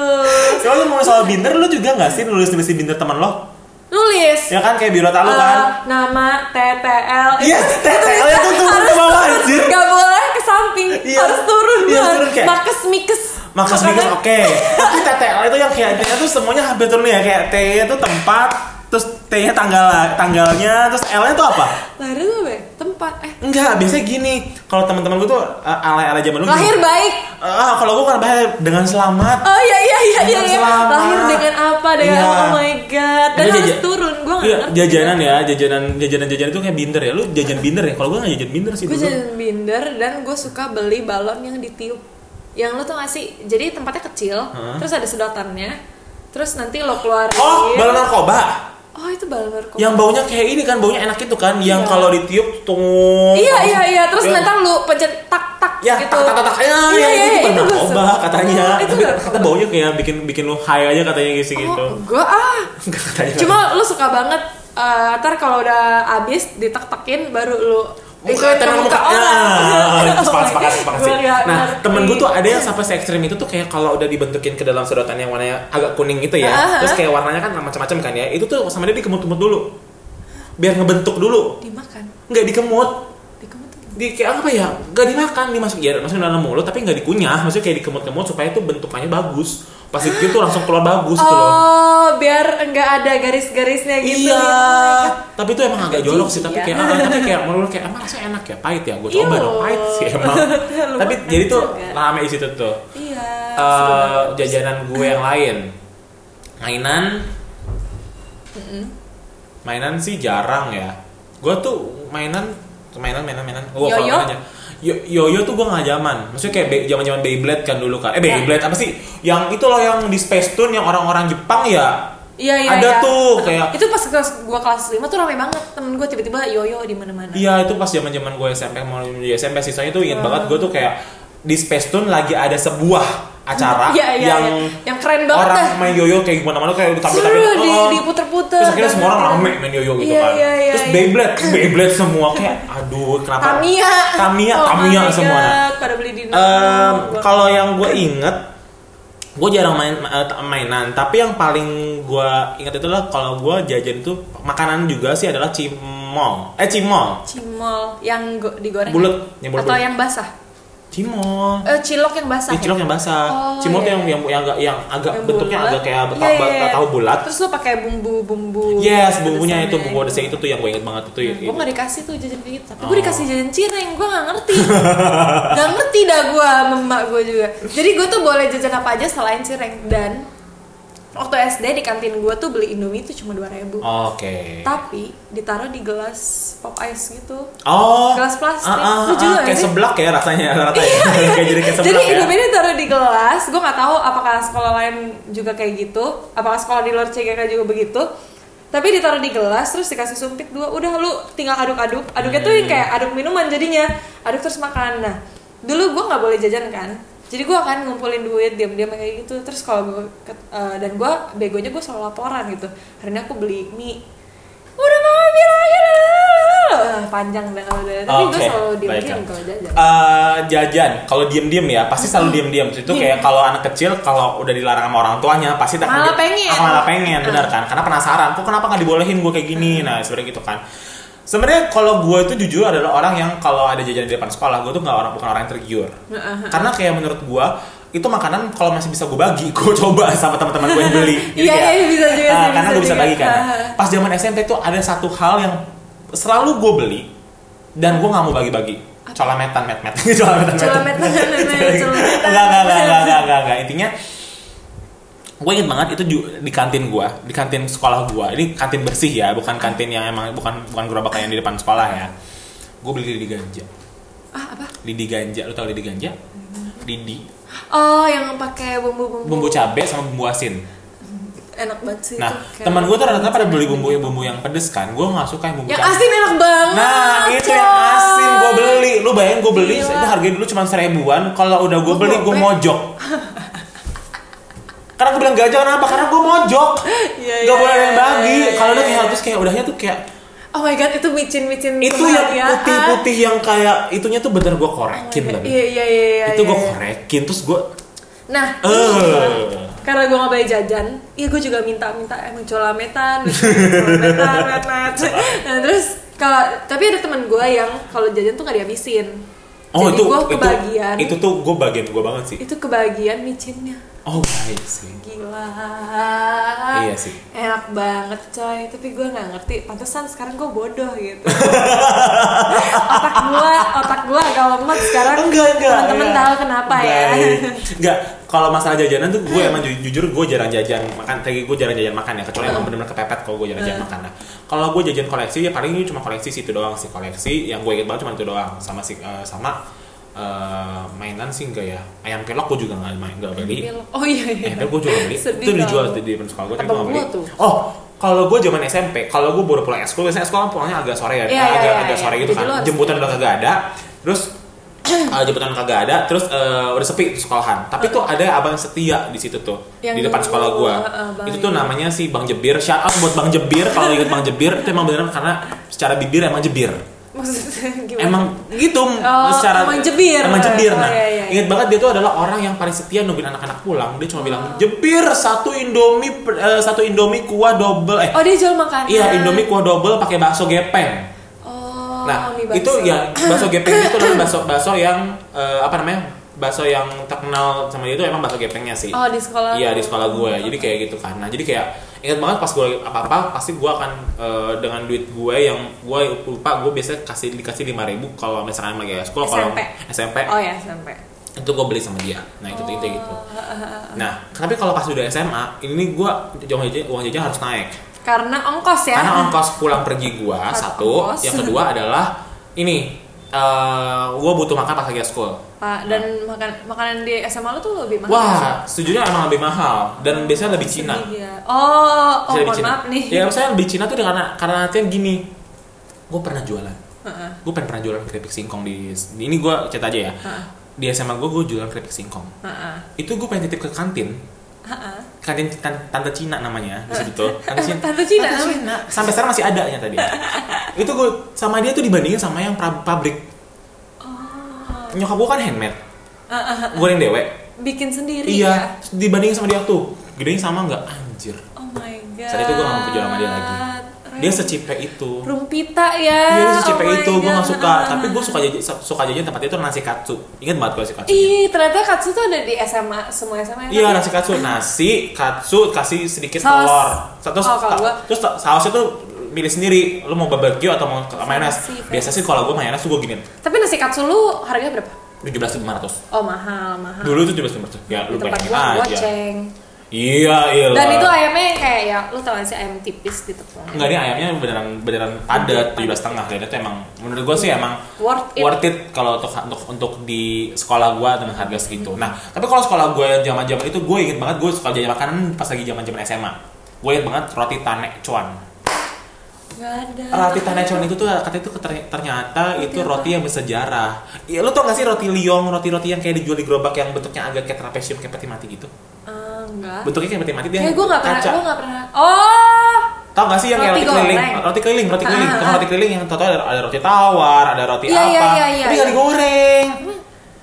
[SPEAKER 2] Soalnya lu ngomong soal binder, lu juga gak sih nulis nulisin binder teman lo?
[SPEAKER 1] Nulis.
[SPEAKER 2] Ya kan kayak biro talu
[SPEAKER 1] eh,
[SPEAKER 2] kan?
[SPEAKER 1] nama TTL.
[SPEAKER 2] Yes, TTL itu turun ke bawah anjir.
[SPEAKER 1] Gak boleh ke samping,
[SPEAKER 2] Iya.
[SPEAKER 1] harus turun
[SPEAKER 2] Iya,
[SPEAKER 1] Bang.
[SPEAKER 2] turun kayak-
[SPEAKER 1] Makes mikes.
[SPEAKER 2] Makas mikir oke. Tapi TTL itu yang kayak dia tuh semuanya hampir turun ya kayak T nya tuh tempat, terus T nya tanggal tanggalnya, terus L nya tuh apa?
[SPEAKER 1] Lahir tuh apa ya? tempat eh
[SPEAKER 2] Enggak, biasanya gini. Kalau teman-teman gue tuh eh, ala-ala zaman dulu.
[SPEAKER 1] lahir
[SPEAKER 2] gini.
[SPEAKER 1] baik.
[SPEAKER 2] Ah, kalau gue kan bahaya dengan selamat.
[SPEAKER 1] Oh iya iya iya iya. iya.
[SPEAKER 2] Selamat.
[SPEAKER 1] Lahir dengan apa dengan
[SPEAKER 2] Iya.
[SPEAKER 1] oh my god. Dan
[SPEAKER 2] Ini
[SPEAKER 1] harus
[SPEAKER 2] jaja-
[SPEAKER 1] turun. Gue nggak
[SPEAKER 2] Iya,
[SPEAKER 1] ngerti.
[SPEAKER 2] jajanan ya, jajanan jajanan jajanan itu kayak binder ya. Lu jajan binder ya? Kalau gue nggak jajan binder sih
[SPEAKER 1] Gue
[SPEAKER 2] dulu.
[SPEAKER 1] jajan binder dan gue suka beli balon yang ditiup. Yang lo tuh ngasih, jadi tempatnya kecil,
[SPEAKER 2] Hah?
[SPEAKER 1] terus ada sedotannya, terus nanti lo keluarin.
[SPEAKER 2] Oh, balon narkoba.
[SPEAKER 1] Oh itu balon narkoba.
[SPEAKER 2] yang baunya kayak ini kan baunya enak itu kan yang
[SPEAKER 1] Iya.
[SPEAKER 2] kalau ditiup tuh
[SPEAKER 1] Iya iya iya, terus
[SPEAKER 2] Ya.
[SPEAKER 1] nanti lu pencet tak tak
[SPEAKER 2] ya
[SPEAKER 1] gitu.
[SPEAKER 2] tak tak tak tak ya,
[SPEAKER 1] Iya,
[SPEAKER 2] ya,
[SPEAKER 1] iya,
[SPEAKER 2] itu
[SPEAKER 1] iya,
[SPEAKER 2] bukan
[SPEAKER 1] itu gua
[SPEAKER 2] narkoba
[SPEAKER 1] suka.
[SPEAKER 2] katanya
[SPEAKER 1] Itu
[SPEAKER 2] tapi
[SPEAKER 1] narkoba.
[SPEAKER 2] kata baunya kayak bikin bikin lu high aja katanya gitu gitu
[SPEAKER 1] Oh, gua ah.
[SPEAKER 2] katanya
[SPEAKER 1] Cuma lu suka banget eh, ntar kalau udah abis ditek-tekin baru lu
[SPEAKER 2] Muka tenang muka.
[SPEAKER 1] orang.
[SPEAKER 2] Ya, sepakat sepakat sepakat sih.
[SPEAKER 1] Gua nggak
[SPEAKER 2] Nah,
[SPEAKER 1] ngerti.
[SPEAKER 2] temen gue tuh ada yang sampai se ekstrim itu tuh kayak kalau udah dibentukin ke dalam sedotan yang warnanya agak kuning itu ya.
[SPEAKER 1] Ah.
[SPEAKER 2] Terus kayak warnanya kan macam-macam kan ya. Itu tuh sama dia dikemut-kemut dulu. Biar ngebentuk dulu.
[SPEAKER 1] dimakan.
[SPEAKER 2] Nggak dikemut,
[SPEAKER 1] Dikemut tuh.
[SPEAKER 2] di kayak apa ya gak dimakan dimasukin ya masukin dalam mulut tapi nggak dikunyah maksudnya kayak dikemut-kemut supaya itu bentukannya bagus Pas dikit tuh langsung keluar bagus gitu loh.
[SPEAKER 1] Oh, biar nggak ada garis-garisnya gitu.
[SPEAKER 2] Iya,
[SPEAKER 1] ya.
[SPEAKER 2] tapi itu emang agak jorok sih, tapi
[SPEAKER 1] Iya.
[SPEAKER 2] kayak ah, tapi kayak menurut kayak emang rasanya enak ya, pahit ya, gue coba
[SPEAKER 1] Iya.
[SPEAKER 2] dong pahit sih emang.
[SPEAKER 1] Lumayan
[SPEAKER 2] tapi jadi tuh
[SPEAKER 1] juga.
[SPEAKER 2] rame di situ tuh.
[SPEAKER 1] Iya.
[SPEAKER 2] Eh, jajanan gue yang lain, mainan, mainan sih jarang ya. Gue tuh mainan, mainan, mainan, mainan. Gue kalau
[SPEAKER 1] Yoyo?
[SPEAKER 2] mainan aja. Yo- Yoyo tuh gue nggak zaman, maksudnya kayak be- zaman-zaman Beyblade kan dulu kan. Eh
[SPEAKER 1] Ya.
[SPEAKER 2] Beyblade apa sih? Yang itu loh yang di Space Tune yang orang-orang Jepang ya.
[SPEAKER 1] Iya, iya,
[SPEAKER 2] ada
[SPEAKER 1] iya.
[SPEAKER 2] tuh kayak
[SPEAKER 1] Itu pas kelas gua kelas 5 tuh rame banget. Temen gua tiba-tiba yoyo di mana-mana.
[SPEAKER 2] Iya itu pas zaman zaman gue SMP mau menuju SMP sih soalnya itu inget
[SPEAKER 1] Hmm.
[SPEAKER 2] banget gue tuh kayak di Space Tune lagi ada sebuah acara
[SPEAKER 1] Iya, iya,
[SPEAKER 2] yang
[SPEAKER 1] iya. Yang keren banget
[SPEAKER 2] orang
[SPEAKER 1] dah.
[SPEAKER 2] main yoyo kayak gimana mana kayak tapi tapi
[SPEAKER 1] Seru di diputer-puter.
[SPEAKER 2] terus akhirnya semua orang rame main yoyo gitu
[SPEAKER 1] Iya,
[SPEAKER 2] kan
[SPEAKER 1] iya, iya,
[SPEAKER 2] terus
[SPEAKER 1] iya.
[SPEAKER 2] Beyblade Beyblade semua kayak aduh kenapa
[SPEAKER 1] Tamiya.
[SPEAKER 2] Tamiya,
[SPEAKER 1] Oh
[SPEAKER 2] Tamiya
[SPEAKER 1] my
[SPEAKER 2] semua, nah.
[SPEAKER 1] God, Pada beli di
[SPEAKER 2] Em,
[SPEAKER 1] Gua-
[SPEAKER 2] kalau yang gue inget gue jarang main ma- eh, mainan tapi yang paling gue inget itu lah kalau gue jajan itu makanan juga sih adalah cimol eh cimol
[SPEAKER 1] cimol yang go- digoreng.
[SPEAKER 2] Bulet, yang bulet-bulet.
[SPEAKER 1] Atau yang basah.
[SPEAKER 2] cimol
[SPEAKER 1] Eh, cilok yang basah.
[SPEAKER 2] Ini Iya, cilok yang basah.
[SPEAKER 1] Oh,
[SPEAKER 2] cimol tuh
[SPEAKER 1] iya.
[SPEAKER 2] yang yang yang agak, yang agak
[SPEAKER 1] Yang
[SPEAKER 2] bentuknya
[SPEAKER 1] bulat.
[SPEAKER 2] agak kayak
[SPEAKER 1] Iya,
[SPEAKER 2] betah,
[SPEAKER 1] iya, iya.
[SPEAKER 2] tahu bulat.
[SPEAKER 1] Terus lo pakai bumbu-bumbu.
[SPEAKER 2] Yes, bumbunya itu
[SPEAKER 1] pedesannya
[SPEAKER 2] bumbu pedasnya itu tuh yang gue inget banget itu.
[SPEAKER 1] Nah,
[SPEAKER 2] itu.
[SPEAKER 1] gue gak dikasih tuh jajan kayak gitu tapi
[SPEAKER 2] Oh.
[SPEAKER 1] gue dikasih jajan cireng gue gak ngerti gak ngerti dah gue sama emak gue juga jadi gue tuh boleh jajan apa aja selain cireng dan waktu SD di kantin gue tuh beli indomie tuh cuma dua ribu
[SPEAKER 2] Oke.
[SPEAKER 1] tapi ditaruh di gelas pop ice gitu
[SPEAKER 2] Oh.
[SPEAKER 1] Gelas plastik.
[SPEAKER 2] ah, ah,
[SPEAKER 1] Lu juga
[SPEAKER 2] ah, kayak
[SPEAKER 1] sih? Iya,
[SPEAKER 2] seblak ya rasanya rata-rata. ya. kayak jadi kayak seblak
[SPEAKER 1] jadi
[SPEAKER 2] ya.
[SPEAKER 1] indomie ditaruh di gelas gue nggak tahu apakah sekolah lain juga kayak gitu apakah sekolah di luar CGK juga begitu tapi ditaruh di gelas terus dikasih sumpit dua udah lu tinggal aduk-aduk aduknya tuh
[SPEAKER 2] Hmm.
[SPEAKER 1] yang kayak aduk minuman jadinya aduk terus makan nah dulu gue nggak boleh jajan kan jadi gue akan ngumpulin duit diam-diam kayak gitu terus kalau gue dan gue begonya gue selalu laporan gitu hari ini aku beli mie udah mama bilang aja dah." panjang dan udah tapi gue
[SPEAKER 2] Oke,
[SPEAKER 1] selalu diam-diam
[SPEAKER 2] baiklah.
[SPEAKER 1] kalau jajan
[SPEAKER 2] Eh, jajan kalau diem-diem ya pasti selalu diem-diem itu
[SPEAKER 1] Iya.
[SPEAKER 2] kayak kalau anak kecil kalau udah dilarang sama orang tuanya pasti tak
[SPEAKER 1] Malah pengen.
[SPEAKER 2] Ah, malah pengen benar kan karena penasaran kok kenapa nggak dibolehin gue kayak gini nah sebenarnya gitu kan sebenarnya kalau gue itu jujur adalah orang yang kalau ada jajan di depan sekolah gue tuh nggak orang bukan orang yang tergiur karena kayak menurut gue itu makanan kalau masih bisa gue bagi gue coba sama teman-teman gue yang beli Jadi
[SPEAKER 1] Iya,
[SPEAKER 2] kayak,
[SPEAKER 1] iya, bisa juga
[SPEAKER 2] ah,
[SPEAKER 1] sih,
[SPEAKER 2] karena
[SPEAKER 1] bisa
[SPEAKER 2] gue bisa
[SPEAKER 1] juga.
[SPEAKER 2] bagi kan
[SPEAKER 1] Ah, ah.
[SPEAKER 2] pas zaman SMP tuh ada satu hal yang selalu gue beli dan gue nggak mau bagi-bagi colametan met met colametan
[SPEAKER 1] Colametan, met, met, colametan.
[SPEAKER 2] enggak enggak enggak enggak enggak enggak, enggak. intinya gue inget banget itu ju- di kantin gue di kantin sekolah gue ini kantin bersih ya bukan kantin yang emang bukan bukan gerobak yang di depan sekolah ya gue beli lidi ganja
[SPEAKER 1] ah apa
[SPEAKER 2] lidi ganja lu tau lidi ganja
[SPEAKER 1] Mhm.
[SPEAKER 2] lidi
[SPEAKER 1] Oh, yang pakai bumbu-bumbu.
[SPEAKER 2] bumbu cabe sama bumbu asin
[SPEAKER 1] Enak banget sih.
[SPEAKER 2] nah
[SPEAKER 1] itu kayak-
[SPEAKER 2] teman gue tuh rata-rata pada beli bumbu bumbu yang pedes kan gue nggak suka yang bumbu
[SPEAKER 1] Yang
[SPEAKER 2] cabe.
[SPEAKER 1] asin enak banget.
[SPEAKER 2] Nah itu yang
[SPEAKER 1] coy.
[SPEAKER 2] asin gue beli Lu bayangin gue beli
[SPEAKER 1] Gila.
[SPEAKER 2] Itu harganya dulu cuma seribuan Kalau udah
[SPEAKER 1] Iya.
[SPEAKER 2] gue
[SPEAKER 1] Lu
[SPEAKER 2] beli gue
[SPEAKER 1] gope.
[SPEAKER 2] mojok Karena gue bilang gajah kenapa? Karena gue mojok
[SPEAKER 1] Iya, iya,
[SPEAKER 2] Gak boleh ada yang
[SPEAKER 1] iya,
[SPEAKER 2] bagi
[SPEAKER 1] iya,
[SPEAKER 2] Kalau
[SPEAKER 1] iya,
[SPEAKER 2] udah kayak
[SPEAKER 1] iya.
[SPEAKER 2] terus kayak udahnya tuh kayak
[SPEAKER 1] Oh my god, itu micin-micin.
[SPEAKER 2] Itu yang
[SPEAKER 1] kebahagiaan.
[SPEAKER 2] putih-putih yang kayak Itunya tuh bener gue
[SPEAKER 1] ya. Oh my
[SPEAKER 2] korekin
[SPEAKER 1] God.
[SPEAKER 2] lagi
[SPEAKER 1] Iya, iya, iya, iya.
[SPEAKER 2] Itu gue
[SPEAKER 1] iya.
[SPEAKER 2] korekin Terus gue
[SPEAKER 1] Nah,
[SPEAKER 2] Eh.
[SPEAKER 1] karena gue gak boleh jajan, iya gue juga minta-minta eh, emang colametan, colametan, metan. Nah terus kalau tapi ada teman gue yang kalau jajan tuh gak dihabisin. Jadi
[SPEAKER 2] Oh itu,
[SPEAKER 1] gue
[SPEAKER 2] itu,
[SPEAKER 1] kebagian.
[SPEAKER 2] itu tuh gue bagian gue banget sih
[SPEAKER 1] itu kebagian micinnya.
[SPEAKER 2] Oh baik sih
[SPEAKER 1] Gila.
[SPEAKER 2] Iya sih.
[SPEAKER 1] Enak banget coy, tapi gue nggak ngerti. Pantesan sekarang gue bodoh gitu. otak gue, otak gue agak lemot sekarang.
[SPEAKER 2] enggak enggak Iya.
[SPEAKER 1] Temen-temen
[SPEAKER 2] enggak.
[SPEAKER 1] tahu kenapa ya. Hmm.
[SPEAKER 2] Baik. enggak kalau masalah jajanan tuh gue emang ju- jujur gue jarang jajan makan tadi gue jarang jajan makan ya kecuali
[SPEAKER 1] Hmm.
[SPEAKER 2] emang bener-bener kepepet kalau gue jarang jajan makan nah kalau gue jajan koleksi ya paling ini cuma koleksi situ doang sih koleksi yang gue inget banget cuma itu doang sama si eh, sama eh, mainan sih enggak ya ayam kelok gue juga nggak main nggak beli
[SPEAKER 1] Oh iya iya.
[SPEAKER 2] Nempel gue juga beli.
[SPEAKER 1] Sedih
[SPEAKER 2] itu dijual
[SPEAKER 1] tau.
[SPEAKER 2] di depan sekolah gue, tapi gue
[SPEAKER 1] Abang
[SPEAKER 2] gak beli.
[SPEAKER 1] gua tuh.
[SPEAKER 2] Oh, kalau gue zaman SMP, kalau gue baru pulang ekskul, biasanya sekolah pulangnya agak sore ya,
[SPEAKER 1] Iya,
[SPEAKER 2] agak
[SPEAKER 1] iya, iya,
[SPEAKER 2] agak
[SPEAKER 1] iya.
[SPEAKER 2] sore gitu
[SPEAKER 1] Jadi lo
[SPEAKER 2] kan.
[SPEAKER 1] harus
[SPEAKER 2] Jemputan udah kagak ada, terus eh, jemputan kagak ada, terus eh, udah sepi tuh sekolahan. Tapi tuh ada abang setia di situ tuh,
[SPEAKER 1] Yang
[SPEAKER 2] di depan
[SPEAKER 1] dulu,
[SPEAKER 2] sekolah gue.
[SPEAKER 1] eh, baik.
[SPEAKER 2] itu tuh namanya si Bang Jebir. Shout out buat Bang Jebir, kalau inget Bang Jebir itu emang beneran karena secara bibir emang Jebir.
[SPEAKER 1] Maksudnya gimana?
[SPEAKER 2] Emang gitu
[SPEAKER 1] Oh,
[SPEAKER 2] secara
[SPEAKER 1] emang jebir.
[SPEAKER 2] Emang jebir.
[SPEAKER 1] Oh,
[SPEAKER 2] Nah,
[SPEAKER 1] iya, iya, iya.
[SPEAKER 2] ingat banget dia tuh adalah orang yang paling setia nungguin anak-anak pulang. Dia cuma bilang, "Jebir, satu Indomie per- eh, satu Indomie kuah double eh
[SPEAKER 1] Oh dia jual makanan.
[SPEAKER 2] iya, Indomie kuah double pakai bakso gepeng."
[SPEAKER 1] Oh.
[SPEAKER 2] Nah,
[SPEAKER 1] mie
[SPEAKER 2] itu
[SPEAKER 1] bakso.
[SPEAKER 2] ya bakso gepeng itu adalah bakso bakso yang eh, apa namanya? bakso yang terkenal sama dia itu emang bakso gepengnya sih
[SPEAKER 1] Oh di sekolah.
[SPEAKER 2] Iya di sekolah gue,
[SPEAKER 1] Hmm.
[SPEAKER 2] jadi kayak gitu kan. Nah jadi kayak ingat banget pas gue apa apa, pasti gue akan eh, dengan duit gue yang gue lupa gue biasanya kasih dikasih lima ribu kalau misalkan lagi ya sekolah kalau
[SPEAKER 1] SMP.
[SPEAKER 2] SMP
[SPEAKER 1] Oh ya sampai.
[SPEAKER 2] itu gue beli sama dia. Nah itu itu gitu. Nah tapi kalau pas udah SMA ini gue uang jajan uang jajan harus naik
[SPEAKER 1] Karena ongkos ya.
[SPEAKER 2] karena ongkos pulang pergi gue satu,
[SPEAKER 1] ongkos.
[SPEAKER 2] yang kedua adalah ini eh gue butuh makan pas lagi school.
[SPEAKER 1] Pak dan makan makanan di SMA lu tuh lebih mahal.
[SPEAKER 2] Wah, sejujurnya emang lebih mahal dan biasanya lebih Cina.
[SPEAKER 1] Jadi dia- Iya. Oh, oh
[SPEAKER 2] Saya
[SPEAKER 1] mohon
[SPEAKER 2] Cina.
[SPEAKER 1] maaf nih.
[SPEAKER 2] Ya saya lebih Cina tuh karena karena artinya gini. Gue pernah jualan.
[SPEAKER 1] Heeh.
[SPEAKER 2] Gue pernah pernah jualan keripik singkong di ini gue cerita aja ya. Di SMA gue gue jualan keripik singkong.
[SPEAKER 1] Heeh.
[SPEAKER 2] Itu gue pengen titip ke kantin.
[SPEAKER 1] Heeh.
[SPEAKER 2] Kantin tan- tante Cina namanya di situ. Tante Cina.
[SPEAKER 1] Tante Cina.
[SPEAKER 2] Tante Cina. Sampai sekarang masih ada nyata dia. itu gue sama dia tuh dibandingin sama yang pra- pabrik.
[SPEAKER 1] Oh.
[SPEAKER 2] Nyokap gue kan handmade.
[SPEAKER 1] Ah,
[SPEAKER 2] Goreng dewek.
[SPEAKER 1] Bikin sendiri ya.
[SPEAKER 2] Iya, dibandingin sama dia tuh. Gedenya sama nggak? Anjir.
[SPEAKER 1] Oh my god.
[SPEAKER 2] Saat itu gue gak mau kerja sama dia lagi. Dia
[SPEAKER 1] Ren-
[SPEAKER 2] secipek itu.
[SPEAKER 1] Rumpita ya.
[SPEAKER 2] Iya, dia secipek
[SPEAKER 1] oh my
[SPEAKER 2] itu. Gue gak
[SPEAKER 1] God.
[SPEAKER 2] suka. Tapi gue suka jajan, suka jajan tempatnya itu nasi katsu. Ingat banget gue nasi katsu.
[SPEAKER 1] Ih, ternyata katsu tuh ada di SMA semua SMA.
[SPEAKER 2] Iya nasi katsu, nasi katsu kasih sedikit
[SPEAKER 1] Saus.
[SPEAKER 2] telur. Terus,
[SPEAKER 1] Oh, kalau
[SPEAKER 2] ta-
[SPEAKER 1] gua-
[SPEAKER 2] terus ta- sausnya tuh milih sendiri. Lu mau barbecue atau mau mayones?
[SPEAKER 1] Fancy, fancy.
[SPEAKER 2] Biasa sih kalau gue mayones tuh gue gini
[SPEAKER 1] Tapi nasi katsu lu harganya berapa?
[SPEAKER 2] tujuh belas lima ratus.
[SPEAKER 1] Oh, mahal, mahal.
[SPEAKER 2] Dulu tuh tujuh belas lima ratus. Ya
[SPEAKER 1] Di
[SPEAKER 2] lu
[SPEAKER 1] tempat
[SPEAKER 2] bayangin
[SPEAKER 1] gua
[SPEAKER 2] aja.
[SPEAKER 1] goceng.
[SPEAKER 2] Iya iya.
[SPEAKER 1] Dan itu ayamnya kayak ya lu tau gak sih ayam tipis gitu.
[SPEAKER 2] Enggak nih ayamnya beneran beneran padat tujuh belas setengah kayaknya tuh emang menurut gue sih emang
[SPEAKER 1] Worth it.
[SPEAKER 2] worth it kalau untuk untuk untuk di sekolah gue dengan harga segitu. Nah tapi kalau sekolah gue zaman zaman itu gue inget banget gue suka jajan makanan pas lagi zaman zaman SMA. Gue inget banget roti tanek cuan.
[SPEAKER 1] Hmm. Gak ada.
[SPEAKER 2] Roti tanek cuan itu tuh katanya tuh ter- ternyata itu
[SPEAKER 1] apa?
[SPEAKER 2] roti yang bersejarah. Ya lu tau gak sih roti liong roti roti yang kayak dijual di gerobak yang bentuknya agak kayak trapesium kayak peti mati gitu.
[SPEAKER 1] Ah, enggak.
[SPEAKER 2] Bentuknya kayak peti mati dia.
[SPEAKER 1] Kayak gue gak Ya, pernah,
[SPEAKER 2] kaca.
[SPEAKER 1] gue gak pernah. Oh,
[SPEAKER 2] Tau gak sih yang
[SPEAKER 1] Roti
[SPEAKER 2] roti, keliling?
[SPEAKER 1] goreng.
[SPEAKER 2] Roti keliling, roti
[SPEAKER 1] Ah,
[SPEAKER 2] keliling.
[SPEAKER 1] ah,
[SPEAKER 2] Tukang
[SPEAKER 1] ah.
[SPEAKER 2] roti keliling yang tau ada, ada roti tawar, ada roti
[SPEAKER 1] Iya,
[SPEAKER 2] apa.
[SPEAKER 1] iya, iya, iya,
[SPEAKER 2] Tapi gak
[SPEAKER 1] iya.
[SPEAKER 2] digoreng.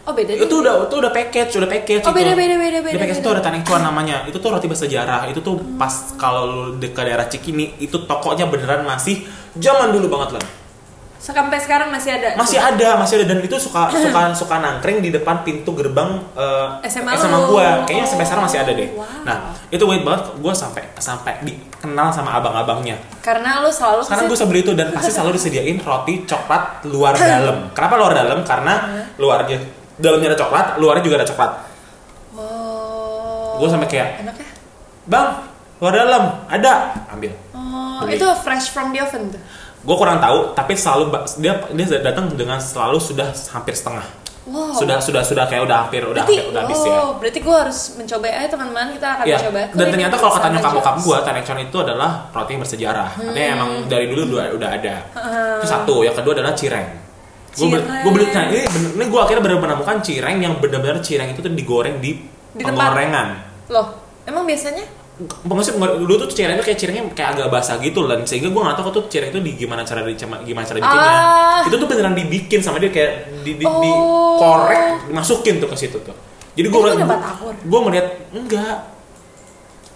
[SPEAKER 1] oh beda
[SPEAKER 2] Itu udah itu udah package, udah package.
[SPEAKER 1] Oh,
[SPEAKER 2] itu.
[SPEAKER 1] beda, beda, beda,
[SPEAKER 2] Di
[SPEAKER 1] beda,
[SPEAKER 2] package
[SPEAKER 1] beda.
[SPEAKER 2] itu ada taneng cuan namanya. Itu tuh roti bersejarah. Itu tuh pas kalau lu de- ke daerah Cikini, itu tokonya beneran masih zaman dulu banget lah.
[SPEAKER 1] Sampai sekarang masih ada.
[SPEAKER 2] Masih ada, masih ada dan itu suka suka suka nangkring di depan pintu gerbang eh,
[SPEAKER 1] SMA lu.
[SPEAKER 2] gua. Kayaknya sampai sekarang
[SPEAKER 1] Oh,
[SPEAKER 2] masih ada deh.
[SPEAKER 1] wow.
[SPEAKER 2] Nah, itu wait banget gua sampai sampai dikenal sama abang-abangnya.
[SPEAKER 1] Karena lu selalu
[SPEAKER 2] Sekarang gue
[SPEAKER 1] kesini.
[SPEAKER 2] sebeli itu dan pasti selalu disediain roti coklat luar dalam. Kenapa luar dalam? Karena luarnya dalamnya ada coklat, luarnya juga ada coklat.
[SPEAKER 1] Oh.
[SPEAKER 2] Gue sampai kayak,
[SPEAKER 1] Enak ya?
[SPEAKER 2] bang, luar dalam ada, ambil.
[SPEAKER 1] Oh,
[SPEAKER 2] Beli.
[SPEAKER 1] itu fresh from the oven tuh.
[SPEAKER 2] Gue kurang tahu, tapi selalu ba- dia dia datang dengan selalu sudah hampir setengah.
[SPEAKER 1] Wow.
[SPEAKER 2] Sudah sudah sudah kayak udah hampir udah
[SPEAKER 1] Oh. berarti,
[SPEAKER 2] hampir, udah habis ya.
[SPEAKER 1] oh, berarti gue harus mencoba ya teman-teman kita akan
[SPEAKER 2] Iya.
[SPEAKER 1] mencoba.
[SPEAKER 2] Dan ternyata kalau kata nyokap bokap
[SPEAKER 1] gue.
[SPEAKER 2] gue, Tanekchon itu adalah roti yang bersejarah.
[SPEAKER 1] Hmm.
[SPEAKER 2] Artinya emang dari dulu udah, udah ada. Itu satu. Yang kedua adalah cireng. Gue beli,
[SPEAKER 1] Cireng.
[SPEAKER 2] gue beli, nah ini, bener- ini gue akhirnya benar menemukan cireng yang benar-benar cireng itu tuh digoreng di,
[SPEAKER 1] Di tempat.
[SPEAKER 2] penggorengan.
[SPEAKER 1] Loh, emang biasanya?
[SPEAKER 2] Maksudnya penggoreng- dulu tuh cireng itu kayak cirengnya kayak agak basah gitu dan sehingga gue nggak tahu tuh cireng itu di gimana cara di gimana cara bikinnya.
[SPEAKER 1] Ah.
[SPEAKER 2] Itu tuh beneran dibikin sama dia kayak di, di,
[SPEAKER 1] Oh.
[SPEAKER 2] dikorek, dimasukin tuh ke situ tuh. Jadi gue
[SPEAKER 1] Itu
[SPEAKER 2] melihat,
[SPEAKER 1] udah batagor.
[SPEAKER 2] gue melihat enggak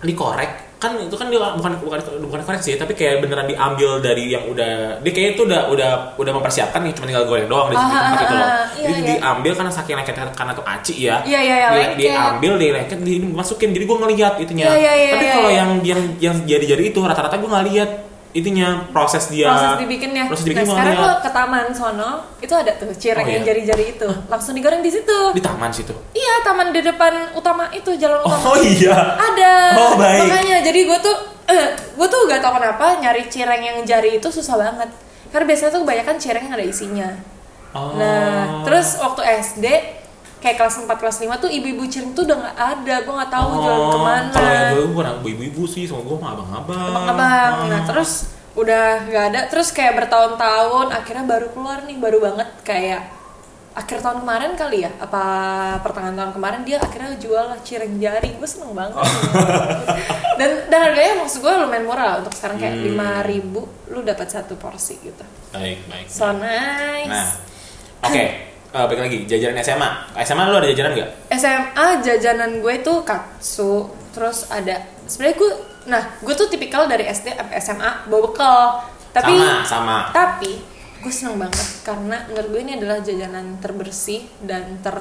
[SPEAKER 2] dikorek kan itu kan dia bukan bukan bukan korek sih tapi kayak beneran diambil dari yang udah dia kayak itu udah udah udah mempersiapkan yang cuma tinggal goreng doang di
[SPEAKER 1] Ah,
[SPEAKER 2] di tempat
[SPEAKER 1] ah,
[SPEAKER 2] itu
[SPEAKER 1] ah,
[SPEAKER 2] loh
[SPEAKER 1] iya,
[SPEAKER 2] jadi
[SPEAKER 1] iya.
[SPEAKER 2] diambil karena saking lengket karena tuh aci ya
[SPEAKER 1] Iya, iya, iya,
[SPEAKER 2] Di-
[SPEAKER 1] lengket.
[SPEAKER 2] diambil dilengket di- dimasukin jadi gue ngelihat itunya
[SPEAKER 1] Iya, iya, iya,
[SPEAKER 2] tapi
[SPEAKER 1] iya,
[SPEAKER 2] kalau
[SPEAKER 1] iya.
[SPEAKER 2] yang yang yang jadi-jadi itu rata-rata gue nggak lihat itunya proses dia
[SPEAKER 1] proses dibikinnya.
[SPEAKER 2] Iya. proses
[SPEAKER 1] nah,
[SPEAKER 2] dibikin gue
[SPEAKER 1] sekarang lo
[SPEAKER 2] nggak lihat
[SPEAKER 1] ke taman sono, itu ada tuh cireng
[SPEAKER 2] Oh,
[SPEAKER 1] yang
[SPEAKER 2] iya.
[SPEAKER 1] jari-jari itu. Langsung digoreng di situ.
[SPEAKER 2] di taman situ
[SPEAKER 1] Iya, taman di depan utama itu, jalan utama.
[SPEAKER 2] oh iya
[SPEAKER 1] Ada.
[SPEAKER 2] Oh, baik.
[SPEAKER 1] Makanya jadi gue tuh eh, gue tuh gak tau kenapa nyari cireng yang jari itu susah banget. Karena biasanya tuh kebanyakan cireng yang ada isinya.
[SPEAKER 2] Oh.
[SPEAKER 1] Nah, terus waktu SD kayak kelas 4 kelas 5 tuh ibu-ibu cireng tuh udah gak ada. Gue gak tahu jalan kemana.
[SPEAKER 2] Oh, Kalau yang gue gue anak ibu-ibu sih, sama gue mah abang-abang.
[SPEAKER 1] abang-abang. Nah
[SPEAKER 2] Ah.
[SPEAKER 1] terus udah nggak ada, terus kayak bertahun-tahun akhirnya baru keluar nih, baru banget kayak akhir tahun kemarin kali ya, apa pertengahan tahun kemarin dia akhirnya jual lah cireng jari, gue seneng banget.
[SPEAKER 2] Oh.
[SPEAKER 1] dan dan harganya maksud gue lumayan murah lah, untuk sekarang
[SPEAKER 2] Hmm.
[SPEAKER 1] kayak lima ribu, lu dapat satu porsi gitu.
[SPEAKER 2] Baik, baik.
[SPEAKER 1] So nice.
[SPEAKER 2] Nah, oke. eh, balik lagi, jajaran SMA. SMA lu ada jajaran nggak?
[SPEAKER 1] SMA jajanan gue tuh katsu terus ada sebenarnya gue nah gue tuh tipikal dari eh, SD sampai SMA bawa bekal tapi
[SPEAKER 2] Sama, sama.
[SPEAKER 1] tapi gue seneng banget karena menurut gue ini adalah jajanan terbersih dan ter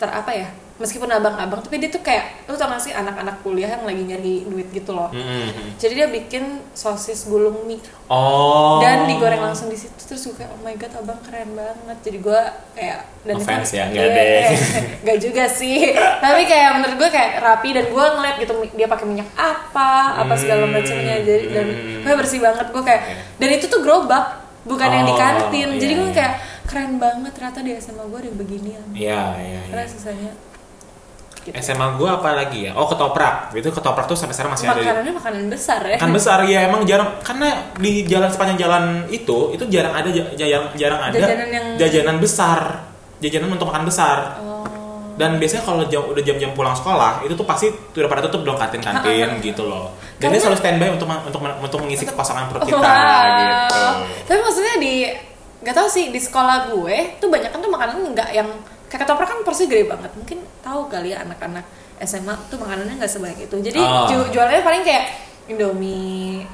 [SPEAKER 1] ter apa ya meskipun abang-abang tapi dia tuh kayak lu tau gak sih anak-anak kuliah yang lagi nyari duit gitu loh
[SPEAKER 2] Hmm. Mm-mm.
[SPEAKER 1] jadi dia bikin sosis gulung mie
[SPEAKER 2] Oh.
[SPEAKER 1] dan digoreng langsung di situ terus gue kayak oh my god abang keren banget jadi gue kayak dan itu-
[SPEAKER 2] Offense ya, nggak
[SPEAKER 1] Iya,
[SPEAKER 2] deh.
[SPEAKER 1] kayak- nggak juga sih tapi kayak menurut gue kayak rapi dan gue ngeliat gitu mi- dia pakai minyak apa apa segala
[SPEAKER 2] Hmm,
[SPEAKER 1] macamnya jadi dan
[SPEAKER 2] hmm. Iya.
[SPEAKER 1] gue bersih banget gue kayak dan itu tuh gerobak bukan yang di
[SPEAKER 2] Oh,
[SPEAKER 1] kantin jadi
[SPEAKER 2] iya,
[SPEAKER 1] gue
[SPEAKER 2] iya.
[SPEAKER 1] kayak keren banget ternyata di SMA gue ada beginian
[SPEAKER 2] Iya, iya. iya.
[SPEAKER 1] karena sisanya gitu.
[SPEAKER 2] SMA gue apa lagi ya? Oh ketoprak. Itu ketoprak tuh sampai sekarang masih ada. di-
[SPEAKER 1] makanannya makanan besar ya
[SPEAKER 2] Kan besar ya emang jarang karena di jalan sepanjang jalan itu itu jarang ada ja- jarang jarang ada
[SPEAKER 1] Jajanan yang-
[SPEAKER 2] jajanan besar. Jajanan untuk makan besar.
[SPEAKER 1] oh.
[SPEAKER 2] Dan biasanya kalau jam, udah jam-jam pulang sekolah itu tuh pasti udah pada tutup dong kantin-kantin gitu loh. Dan
[SPEAKER 1] Karena-
[SPEAKER 2] dia
[SPEAKER 1] Oh,
[SPEAKER 2] selalu standby untuk men- untuk men- untuk mengisi kekosongan perut kita gitu.
[SPEAKER 1] Wow. Tapi maksudnya di nggak tau sih di sekolah gue tuh banyak kan tuh makanan nggak yang kayak ketoprak kan porsi gede banget. Mungkin tahu kali ya anak-anak SMA tuh makanannya nggak sebanyak itu. Jadi
[SPEAKER 2] Ah.
[SPEAKER 1] ju- jualannya paling kayak Indomie,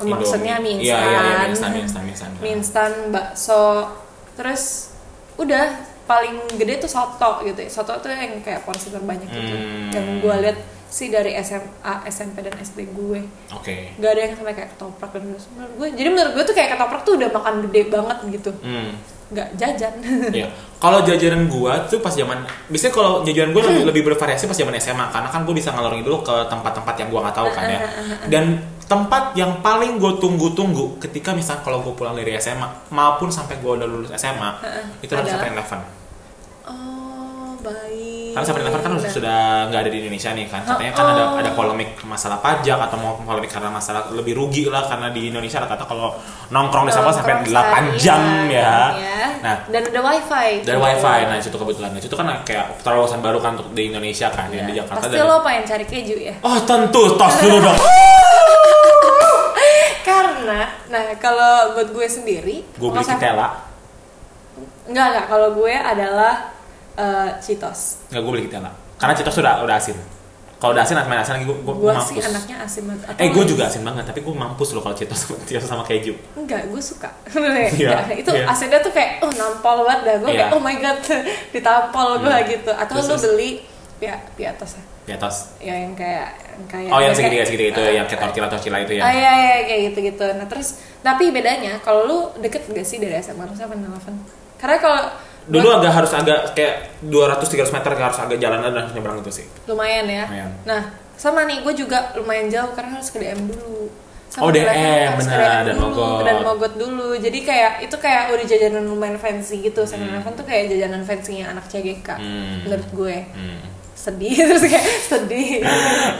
[SPEAKER 1] maksudnya mie
[SPEAKER 2] Indomie.
[SPEAKER 1] instan,
[SPEAKER 2] Iya, iya, iya, mie instan, mie instan, mie instan.
[SPEAKER 1] mie instan, bakso, terus udah paling gede tuh soto gitu. ya. Soto tuh yang kayak porsi terbanyak gitu.
[SPEAKER 2] Hmm.
[SPEAKER 1] Yang gue lihat sih dari SMA, SMP dan SD gue
[SPEAKER 2] Oke.
[SPEAKER 1] nggak ada yang sampai kayak ketoprak dan menurut gue jadi menurut gue tuh kayak ketoprak tuh udah makan gede banget gitu
[SPEAKER 2] Hmm.
[SPEAKER 1] nggak jajan
[SPEAKER 2] Iya. Kalau jajanan gua tuh pas zaman biasanya kalau jajanan gua lebih, lebih bervariasi pas zaman SMA karena kan gua bisa ngalor dulu ke tempat-tempat yang gua nggak tahu kan ya. Dan tempat yang paling gua tunggu-tunggu ketika misal kalau gua pulang dari SMA maupun sampai gua udah lulus SMA itu harus
[SPEAKER 1] Adalah?
[SPEAKER 2] sampai Eleven.
[SPEAKER 1] oh baik
[SPEAKER 2] Karena sampai Eleven kan harus- sudah nggak ada di Indonesia nih kan. Katanya kan
[SPEAKER 1] Iya. Oh.
[SPEAKER 2] ada ada polemik masalah pajak atau mau polemik karena masalah lebih rugi lah karena di Indonesia rata-rata kalau nongkrong di sana sampai 8 jam ya. Nah,
[SPEAKER 1] Iya, dan ada wifi
[SPEAKER 2] dari wifi nah itu kebetulan nah, itu kan kayak terobosan baru kan untuk di Indonesia kan
[SPEAKER 1] Iya.
[SPEAKER 2] yang di Jakarta
[SPEAKER 1] pasti
[SPEAKER 2] dan-
[SPEAKER 1] lo pengen cari keju ya
[SPEAKER 2] oh tentu tos dulu dong
[SPEAKER 1] karena nah kalau buat gue sendiri
[SPEAKER 2] gue beli
[SPEAKER 1] masa-
[SPEAKER 2] kitela
[SPEAKER 1] nggak nggak kalau gue adalah eh, Cheetos
[SPEAKER 2] nggak gue beli kitela karena citos sudah udah asin kalau udah asin main asin lagi gue
[SPEAKER 1] gue
[SPEAKER 2] mampus
[SPEAKER 1] sih anaknya asin banget Atau
[SPEAKER 2] eh gue juga asin banget tapi gue mampus loh kalau citos sama citos sama keju
[SPEAKER 1] Enggak, gue suka.
[SPEAKER 2] Iya,
[SPEAKER 1] Iya. itu
[SPEAKER 2] iya.
[SPEAKER 1] asinnya tuh kayak, oh nampol banget dah. Gue kayak,
[SPEAKER 2] Iya.
[SPEAKER 1] oh my god, ditampol gue gitu. Atau
[SPEAKER 2] Terus,
[SPEAKER 1] lu
[SPEAKER 2] terus.
[SPEAKER 1] beli ya di atas
[SPEAKER 2] di atas
[SPEAKER 1] ya yang kayak yang kayak
[SPEAKER 2] oh
[SPEAKER 1] Iya,
[SPEAKER 2] yang
[SPEAKER 1] kayak-
[SPEAKER 2] segitiga segitiga itu yang kayak tortilla tortilla itu
[SPEAKER 1] Ah,
[SPEAKER 2] ya
[SPEAKER 1] iya, iya, kayak gitu-gitu. Nah, terus tapi bedanya kalau lu deket gak sih dari SMA harusnya apa nelfon? Karena kalau
[SPEAKER 2] dulu agak harus agak kayak 200-300 meter harus agak jalan dan harus nyebrang itu sih
[SPEAKER 1] lumayan ya.
[SPEAKER 2] Lumayan.
[SPEAKER 1] Nah, sama nih gue juga lumayan jauh karena harus ke DM dulu. Sama
[SPEAKER 2] Oh, DM,
[SPEAKER 1] kelasnya harus ke
[SPEAKER 2] benar,
[SPEAKER 1] DM
[SPEAKER 2] dan
[SPEAKER 1] dulu,
[SPEAKER 2] Mogot.
[SPEAKER 1] Dan mogot dulu. Jadi kayak itu kayak udah jajanan lumayan fancy gitu. Sama Eleven tuh kayak jajanan fancy-nya anak CGK.
[SPEAKER 2] Hmm.
[SPEAKER 1] Menurut gue
[SPEAKER 2] hmm.
[SPEAKER 1] sedih terus kayak sedih.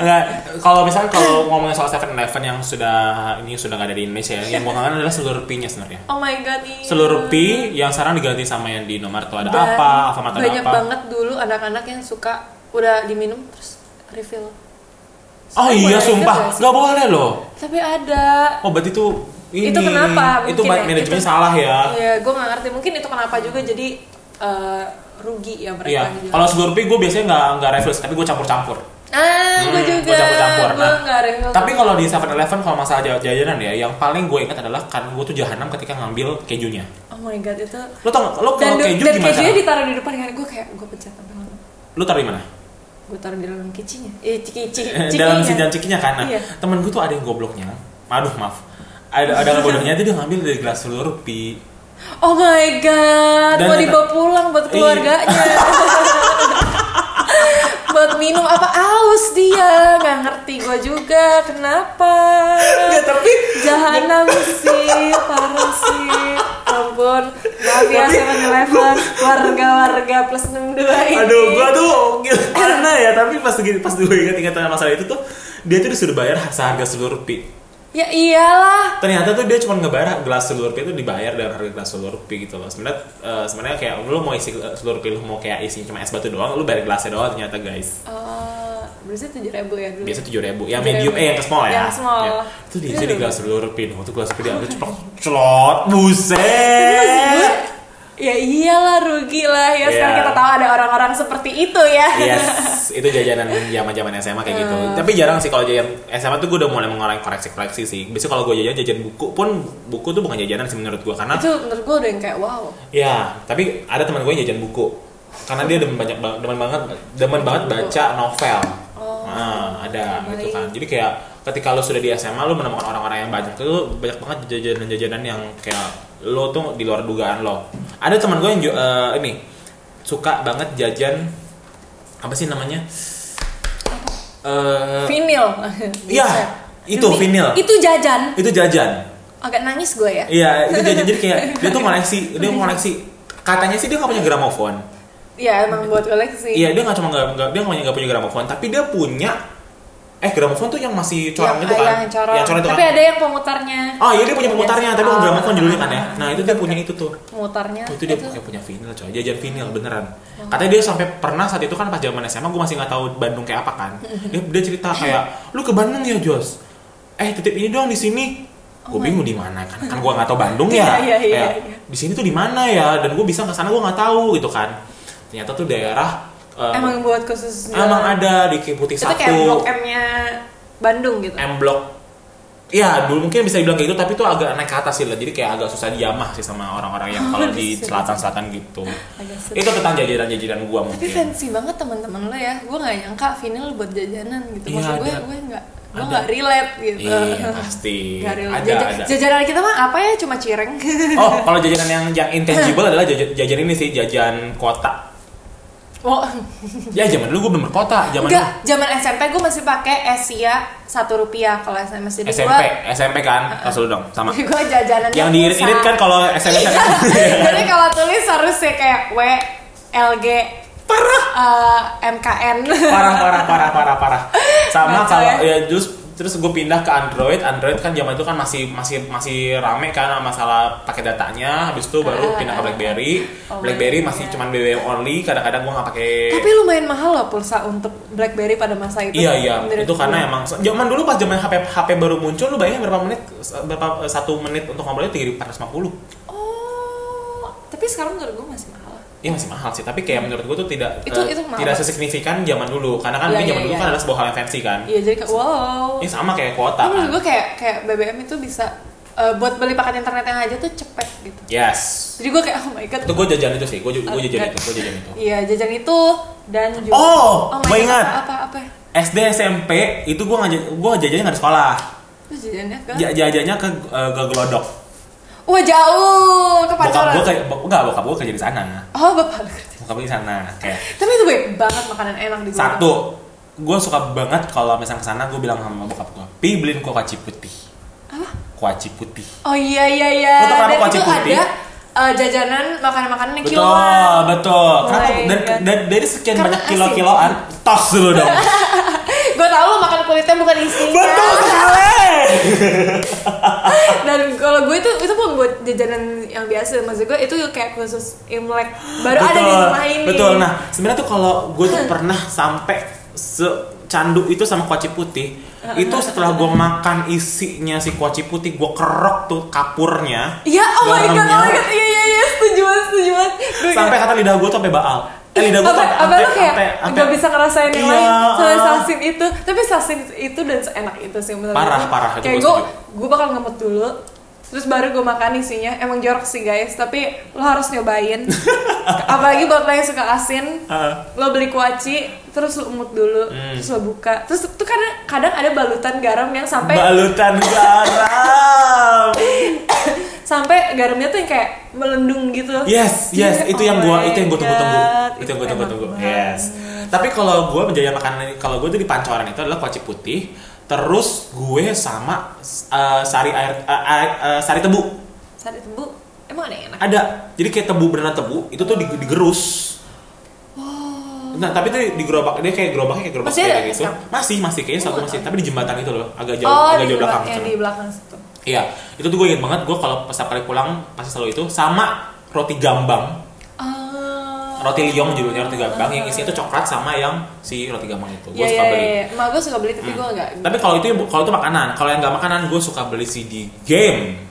[SPEAKER 2] Enggak, kalau misalnya kalau ngomongin soal Seven Eleven yang sudah ini sudah nggak ada di Indonesia, ya, yang gue kangen adalah seluruh pinya sebenarnya.
[SPEAKER 1] Oh my god iya.
[SPEAKER 2] Seluruh pi yang sekarang diganti sama yang di nomor tuh ada
[SPEAKER 1] Dan
[SPEAKER 2] apa, Alfamart ada
[SPEAKER 1] Banyak
[SPEAKER 2] apa.
[SPEAKER 1] banget dulu anak-anak yang suka udah diminum terus refill.
[SPEAKER 2] Oh
[SPEAKER 1] Sekarang
[SPEAKER 2] iya
[SPEAKER 1] boleh
[SPEAKER 2] sumpah,
[SPEAKER 1] refill nggak sih?
[SPEAKER 2] nggak boleh loh.
[SPEAKER 1] Tapi ada.
[SPEAKER 2] Oh berarti itu ini.
[SPEAKER 1] Itu kenapa?
[SPEAKER 2] Itu
[SPEAKER 1] Mungkin
[SPEAKER 2] ma-
[SPEAKER 1] ya,
[SPEAKER 2] manajemennya
[SPEAKER 1] itu-
[SPEAKER 2] salah ya.
[SPEAKER 1] Iya, gue gak ngerti. Mungkin itu kenapa juga jadi eh, rugi ya mereka.
[SPEAKER 2] Iya.
[SPEAKER 1] gitu.
[SPEAKER 2] Kalau seluruh pi gue biasanya nggak nggak refills, tapi gue campur-campur.
[SPEAKER 1] Ah, gue
[SPEAKER 2] Hmm,
[SPEAKER 1] juga.
[SPEAKER 2] gua campur-campur.
[SPEAKER 1] Gue
[SPEAKER 2] Nah,
[SPEAKER 1] nggak refill.
[SPEAKER 2] Tapi kalau di Seven Eleven kalau masalah jaj- jajanan ya, yang paling gue ingat adalah kan gue tuh jahanam ketika ngambil kejunya.
[SPEAKER 1] oh my god itu.
[SPEAKER 2] Lo tau nggak? Lo
[SPEAKER 1] Dan,
[SPEAKER 2] Oh, kalau
[SPEAKER 1] du-
[SPEAKER 2] keju
[SPEAKER 1] dan
[SPEAKER 2] gimana?
[SPEAKER 1] kejunya
[SPEAKER 2] cara?
[SPEAKER 1] ditaruh di depan kan gue kayak gue pecat apa
[SPEAKER 2] Lo taruh di mana?
[SPEAKER 1] Gue taruh di dalam kicinya. Eh, ciki ciki.
[SPEAKER 2] Eh,
[SPEAKER 1] cikinya.
[SPEAKER 2] dalam sidang cikinya kan nah,
[SPEAKER 1] Iya.
[SPEAKER 2] temen gue tuh ada yang gobloknya aduh maaf ada ada yang bodohnya tuh dia ngambil dari gelas seluruh pi
[SPEAKER 1] Oh my god,
[SPEAKER 2] Dan-
[SPEAKER 1] mau dibawa pulang buat
[SPEAKER 2] Iya.
[SPEAKER 1] keluarganya. buat minum apa aus dia nggak ngerti gue juga kenapa Iya,
[SPEAKER 2] tapi
[SPEAKER 1] jahanam sih parah sih ampun maaf ya Seven Eleven warga-warga plus 62 ini
[SPEAKER 2] aduh gue tuh gimana ya tapi pas gini- pas gue ingat ingat masalah itu tuh dia tuh disuruh bayar harga seluruh pi
[SPEAKER 1] ya iyalah
[SPEAKER 2] ternyata tuh dia cuma ngebayar gelas seluruh pi itu dibayar dengan harga gelas seluruh pi gitu loh sebenarnya eh, sebenarnya kayak lu mau isi gelas seluruh pi lu mau kayak isinya cuma es batu doang lu bayar gelasnya doang ternyata guys
[SPEAKER 1] Eh, berarti tujuh ribu ya dulu
[SPEAKER 2] biasa tujuh ribu yang medium eh yang ke small ya
[SPEAKER 1] Yang small.
[SPEAKER 2] Ya. itu diisi di gelas seluruh pin waktu gelas pin diambil celot celot buset
[SPEAKER 1] ya iyalah rugi lah ya sekarang
[SPEAKER 2] Iya.
[SPEAKER 1] kita tahu ada orang-orang seperti itu ya
[SPEAKER 2] Yes, itu jajanan zaman zaman SMA kayak gitu. Tapi jarang sih kalau jajan SMA tuh gue udah mulai mengurangi koreksi koreksi sih. Biasanya kalau gue jajan jajan buku pun buku tuh bukan jajanan sih menurut gue karena
[SPEAKER 1] itu menurut gue udah yang kayak wow
[SPEAKER 2] ya tapi ada teman gue yang jajan buku. karena dia demen banyak banget demen banget demen banget baca novel
[SPEAKER 1] Oh.
[SPEAKER 2] nah, ada
[SPEAKER 1] Baik.
[SPEAKER 2] gitu kan jadi kayak ketika lo sudah di SMA lo menemukan orang-orang yang banyak tuh banyak banget jajanan-jajanan yang kayak lo tuh di luar dugaan lo ada teman gue yang ju- eh, ini suka banget jajan apa sih namanya Eh,
[SPEAKER 1] Vinyl.
[SPEAKER 2] Iya, itu
[SPEAKER 1] Demi-
[SPEAKER 2] vinyl.
[SPEAKER 1] Itu jajan.
[SPEAKER 2] itu jajan
[SPEAKER 1] Agak nangis gue ya.
[SPEAKER 2] Iya, itu jadi jadi kayak dia tuh koleksi, dia koleksi. Katanya sih dia nggak punya gramofon.
[SPEAKER 1] Iya emang buat koleksi.
[SPEAKER 2] Iya, dia nggak cuma nggak nggak- dia nggak punya nggak punya gramofon, tapi dia punya eh gramofon tuh yang masih corong
[SPEAKER 1] Yang-
[SPEAKER 2] itu kan?
[SPEAKER 1] Ah, Yang corong.
[SPEAKER 2] itu
[SPEAKER 1] Tapi
[SPEAKER 2] kan?
[SPEAKER 1] ada yang pemutarnya.
[SPEAKER 2] Oh iya dia punya pemutarnya, tapi bukan
[SPEAKER 1] Oh.
[SPEAKER 2] gramofon judulnya kan ya. Nah itu dia punya itu tuh.
[SPEAKER 1] Pemutarnya.
[SPEAKER 2] Itu dia punya punya vinyl coy, jajan vinyl beneran. Katanya dia sampai pernah saat itu kan pas zaman SMA gue masih nggak tahu Bandung kayak apa kan. Dia, dia cerita kayak, lu ke Bandung ya Jos? Eh titip ini dong di sini. Gue bingung di mana kan, kan gue nggak tahu Bandung ya.
[SPEAKER 1] Oh Iya, iya, iya,
[SPEAKER 2] Kayak,
[SPEAKER 1] iya.
[SPEAKER 2] Di sini tuh di mana ya? Dan gue bisa ke sana gue nggak tahu gitu kan. Ternyata tuh daerah eh,
[SPEAKER 1] Emang buat khusus.
[SPEAKER 2] emang
[SPEAKER 1] jalan.
[SPEAKER 2] ada di Ki Putih
[SPEAKER 1] Itu kayak blok
[SPEAKER 2] satu,
[SPEAKER 1] M-nya Bandung gitu.
[SPEAKER 2] M Block. Ya dulu mungkin bisa dibilang kayak gitu, tapi itu agak naik ke atas sih lah. Jadi kayak agak susah dijamah sih sama orang-orang yang
[SPEAKER 1] Oh,
[SPEAKER 2] kalau di
[SPEAKER 1] Serius.
[SPEAKER 2] selatan-selatan gitu
[SPEAKER 1] Agak seru.
[SPEAKER 2] itu tentang jajanan-jajanan gua mungkin
[SPEAKER 1] Tapi fancy banget teman-teman lo ya. Gue nggak nyangka vinyl buat jajanan gitu.
[SPEAKER 2] Iya,
[SPEAKER 1] Maksud gue
[SPEAKER 2] ada.
[SPEAKER 1] gue nggak gue
[SPEAKER 2] Ada.
[SPEAKER 1] nggak relate gitu.
[SPEAKER 2] iya pasti
[SPEAKER 1] Nggak relate.
[SPEAKER 2] ada
[SPEAKER 1] Jajan-
[SPEAKER 2] ada
[SPEAKER 1] Jajanan kita mah apa ya? Cuma cireng.
[SPEAKER 2] oh kalau jajanan yang yang intangible adalah jajan, jajan ini sih jajan kota
[SPEAKER 1] Oh,
[SPEAKER 2] ya zaman dulu gua belum berkota zaman
[SPEAKER 1] enggak. Zaman SMP gue masih pakai Esia satu rupiah kalau SMA jadi
[SPEAKER 2] dulu SMP SMP kan Kasih lu dong sama
[SPEAKER 1] gue gue jajanan
[SPEAKER 2] yang diirit-irit kan kalau SMP
[SPEAKER 1] Jadi kalau tulis harusnya kayak W eh, LG parah MKN.
[SPEAKER 2] parah parah parah parah parah sama
[SPEAKER 1] Kacau
[SPEAKER 2] kalau
[SPEAKER 1] ya.
[SPEAKER 2] ya terus terus gue pindah ke Android Android kan zaman itu kan masih masih masih rame kan masalah pakai datanya habis itu baru
[SPEAKER 1] Ah,
[SPEAKER 2] pindah ke
[SPEAKER 1] ah,
[SPEAKER 2] BlackBerry
[SPEAKER 1] Oh,
[SPEAKER 2] BlackBerry
[SPEAKER 1] iya.
[SPEAKER 2] masih cuman BBM only kadang-kadang gue nggak pakai
[SPEAKER 1] Tapi lumayan mahal loh pulsa untuk BlackBerry pada masa itu.
[SPEAKER 2] Iya iya,
[SPEAKER 1] Menurut
[SPEAKER 2] itu
[SPEAKER 1] gue.
[SPEAKER 2] karena emang zaman dulu pas zaman HP HP baru muncul lu bayangin berapa menit berapa eh, satu menit untuk ngobrolnya tiga ribu
[SPEAKER 1] Oh, tapi sekarang menurut gue masih mahal.
[SPEAKER 2] Iya masih mahal sih, tapi kayak menurut gue tuh tidak
[SPEAKER 1] Itu-
[SPEAKER 2] eh,
[SPEAKER 1] itu mahal.
[SPEAKER 2] tidak sesignifikan zaman dulu karena
[SPEAKER 1] Iya,
[SPEAKER 2] kan mungkin
[SPEAKER 1] iya,
[SPEAKER 2] zaman dulu
[SPEAKER 1] iya.
[SPEAKER 2] kan adalah sebuah hal yang fancy kan.
[SPEAKER 1] Iya jadi kayak wow.
[SPEAKER 2] Ini sama kayak kuota.
[SPEAKER 1] Tapi menurut
[SPEAKER 2] kan.
[SPEAKER 1] gue kayak kayak BBM itu bisa eh, buat beli paket internet yang aja tuh cepet gitu.
[SPEAKER 2] Yes.
[SPEAKER 1] Jadi gue kayak oh my god.
[SPEAKER 2] Itu gue jajan itu sih, gue gue jajan
[SPEAKER 1] Oke.
[SPEAKER 2] itu, gue jajan itu.
[SPEAKER 1] Iya jajan itu dan juga.
[SPEAKER 2] Oh,
[SPEAKER 1] my
[SPEAKER 2] gue
[SPEAKER 1] God,
[SPEAKER 2] ingat.
[SPEAKER 1] Apa apa?
[SPEAKER 2] SD SMP itu gue ngajak gue jajannya nggak di sekolah,
[SPEAKER 1] Itu jajannya ke?
[SPEAKER 2] Ja- jajannya ke eh, ke Glodok.
[SPEAKER 1] Wah jauh ke
[SPEAKER 2] Bokap
[SPEAKER 1] Pancoran.
[SPEAKER 2] gue kayak enggak bokap gue kerja di sana,
[SPEAKER 1] Oh bapak lu kerja.
[SPEAKER 2] bokap gue di sana kayak
[SPEAKER 1] Tapi itu baik banget makanan enak di sana.
[SPEAKER 2] Satu, gue suka banget kalau misalnya kesana gue bilang sama bokap gue, pi beliin gue kuaci putih.
[SPEAKER 1] Apa?
[SPEAKER 2] Kuaci putih.
[SPEAKER 1] Oh iya iya iya.
[SPEAKER 2] Lu tau kenapa
[SPEAKER 1] Dan
[SPEAKER 2] kuaci
[SPEAKER 1] itu
[SPEAKER 2] putih?
[SPEAKER 1] ada eh, jajanan makanan-makanan yang
[SPEAKER 2] Betul,
[SPEAKER 1] kiloan.
[SPEAKER 2] betul. Kenapa?
[SPEAKER 1] Oh my
[SPEAKER 2] Dan,
[SPEAKER 1] God.
[SPEAKER 2] dan- dari sekian
[SPEAKER 1] Karena
[SPEAKER 2] banyak
[SPEAKER 1] asin.
[SPEAKER 2] kilo-kiloan, tos dulu dong.
[SPEAKER 1] Gue tau lo makan kulitnya bukan isinya.
[SPEAKER 2] betul sekali.
[SPEAKER 1] Dan kalau gue itu itu bukan buat jajanan yang biasa. Maksud gue itu kayak khusus Imlek. Baru ada di rumah ini.
[SPEAKER 2] Betul. Nah, sebenarnya tuh kalau gue tuh pernah sampai secandu itu sama kuaci putih. Itu setelah gue makan isinya si kuaci putih, gue kerok tuh kapurnya.
[SPEAKER 1] Iya, oh my god, oh my
[SPEAKER 2] Garamnya.
[SPEAKER 1] god, iya iya iya, setuju banget, setuju banget. Gue
[SPEAKER 2] sampai kata lidah gue tuh sampai baal. Eh, lidah gue
[SPEAKER 1] Iya. apa,
[SPEAKER 2] sampai-
[SPEAKER 1] apa lu
[SPEAKER 2] sampai-
[SPEAKER 1] kayak
[SPEAKER 2] sampai-
[SPEAKER 1] nggak bisa ngerasain yang
[SPEAKER 2] Iya,
[SPEAKER 1] lain soalnya
[SPEAKER 2] ah.
[SPEAKER 1] sasin itu tapi sasin itu dan seenak itu sih menurut
[SPEAKER 2] Parah,
[SPEAKER 1] gue.
[SPEAKER 2] parah, itu
[SPEAKER 1] kayak
[SPEAKER 2] gue
[SPEAKER 1] gue
[SPEAKER 2] setuju.
[SPEAKER 1] gue bakal ngemut dulu terus baru gue makan isinya emang jorok sih guys tapi lo harus nyobain apalagi buat lo yang suka asin
[SPEAKER 2] Ah.
[SPEAKER 1] lo beli kuaci terus lo emut dulu
[SPEAKER 2] Hmm.
[SPEAKER 1] terus lo buka terus tuh karena kadang ada balutan garam yang sampai
[SPEAKER 2] balutan garam.
[SPEAKER 1] sampai garamnya tuh yang kayak melendung gitu
[SPEAKER 2] Yes,
[SPEAKER 1] Iya,
[SPEAKER 2] yes, itu
[SPEAKER 1] oh
[SPEAKER 2] yang gua
[SPEAKER 1] my
[SPEAKER 2] itu yang gua tunggu-tunggu.
[SPEAKER 1] God,
[SPEAKER 2] Itu yang gua
[SPEAKER 1] itu
[SPEAKER 2] tunggu-tunggu.
[SPEAKER 1] enak banget.
[SPEAKER 2] Yes. Tapi kalau gua menjajal makanan kalau gua tuh di pancoran itu adalah kuaci putih, terus gue sama eh, sari air eh, air- eh, sari tebu.
[SPEAKER 1] sari tebu emang ada yang enak
[SPEAKER 2] Ada. Jadi kayak tebu beneran tebu, itu tuh dig- digerus. Nah, tapi itu di gerobak dia kayak gerobaknya kayak gerobak
[SPEAKER 1] Oh. Masih
[SPEAKER 2] sepeda
[SPEAKER 1] ada
[SPEAKER 2] gitu.
[SPEAKER 1] sekarang?
[SPEAKER 2] Masih, masih kayaknya
[SPEAKER 1] Oh,
[SPEAKER 2] satu masih, tapi di jembatan itu loh, agak jauh
[SPEAKER 1] oh
[SPEAKER 2] agak
[SPEAKER 1] di
[SPEAKER 2] jauh belakang.
[SPEAKER 1] belakang yang
[SPEAKER 2] sana.
[SPEAKER 1] di belakang situ
[SPEAKER 2] Iya, itu tuh gue inget banget gue kalau setiap kali pulang pasti selalu itu sama roti gambang.
[SPEAKER 1] Ah.
[SPEAKER 2] roti gitu, liong judulnya roti gambang yang isinya tuh coklat sama yang si roti gambang itu gue
[SPEAKER 1] Iya,
[SPEAKER 2] suka
[SPEAKER 1] iya,
[SPEAKER 2] beli Hmm.
[SPEAKER 1] iya. Emak gue suka beli tapi gue enggak.
[SPEAKER 2] tapi kalau itu kalau itu makanan kalau yang nggak makanan gue suka beli CD game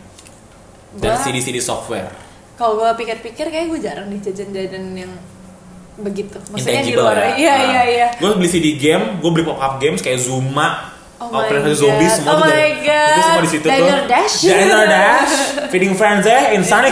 [SPEAKER 1] Gua-
[SPEAKER 2] dan CD CD software
[SPEAKER 1] Kalau gue pikir-pikir kayak gue jarang nih jajan-jajan yang begitu. Maksudnya di
[SPEAKER 2] Intangible ya. Nah.
[SPEAKER 1] luar. Iya, iya, iya.
[SPEAKER 2] gue beli CD game gue beli pop up games kayak Zuma
[SPEAKER 1] Oh my
[SPEAKER 2] Operation
[SPEAKER 1] God.
[SPEAKER 2] Zombie semua
[SPEAKER 1] Oh
[SPEAKER 2] tuh
[SPEAKER 1] my
[SPEAKER 2] dari-
[SPEAKER 1] God.
[SPEAKER 2] itu semua di situ tuh.
[SPEAKER 1] Diner Dash.
[SPEAKER 2] Diner Dash, Feeding Frenzy, Insane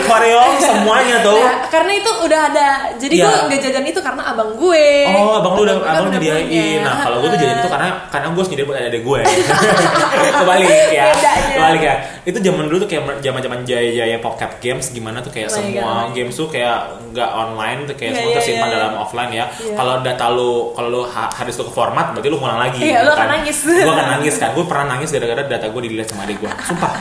[SPEAKER 2] Aquarium, semuanya tuh.
[SPEAKER 1] Nah, karena itu udah ada. Jadi
[SPEAKER 2] Iya.
[SPEAKER 1] gue nggak jajan itu karena abang gue.
[SPEAKER 2] Oh, abang lu udah
[SPEAKER 1] gue kan
[SPEAKER 2] abang nyediain.
[SPEAKER 1] punya.
[SPEAKER 2] Nah, kalau gue tuh jajan itu karena karena gue sendiri buat ada gue. Kebalik ya.
[SPEAKER 1] Bedanya.
[SPEAKER 2] Kebalik ya. Itu zaman dulu tuh kayak zaman-zaman jaya-jaya PopCap games gimana tuh kayak
[SPEAKER 1] Oh my
[SPEAKER 2] semua
[SPEAKER 1] God.
[SPEAKER 2] games tuh kayak nggak online tuh kayak
[SPEAKER 1] Iya,
[SPEAKER 2] semua
[SPEAKER 1] iya,
[SPEAKER 2] tersimpan
[SPEAKER 1] iya,
[SPEAKER 2] dalam
[SPEAKER 1] iya.
[SPEAKER 2] offline ya.
[SPEAKER 1] Iya.
[SPEAKER 2] Kalau data lu kalau lu ha- harus lu ke format berarti lu ngulang lagi.
[SPEAKER 1] Iya, lu akan
[SPEAKER 2] kan?
[SPEAKER 1] nangis.
[SPEAKER 2] Gue akan nangis kan. Gue pernah nangis gara-gara data gue dilihat sama adik gue. Sumpah.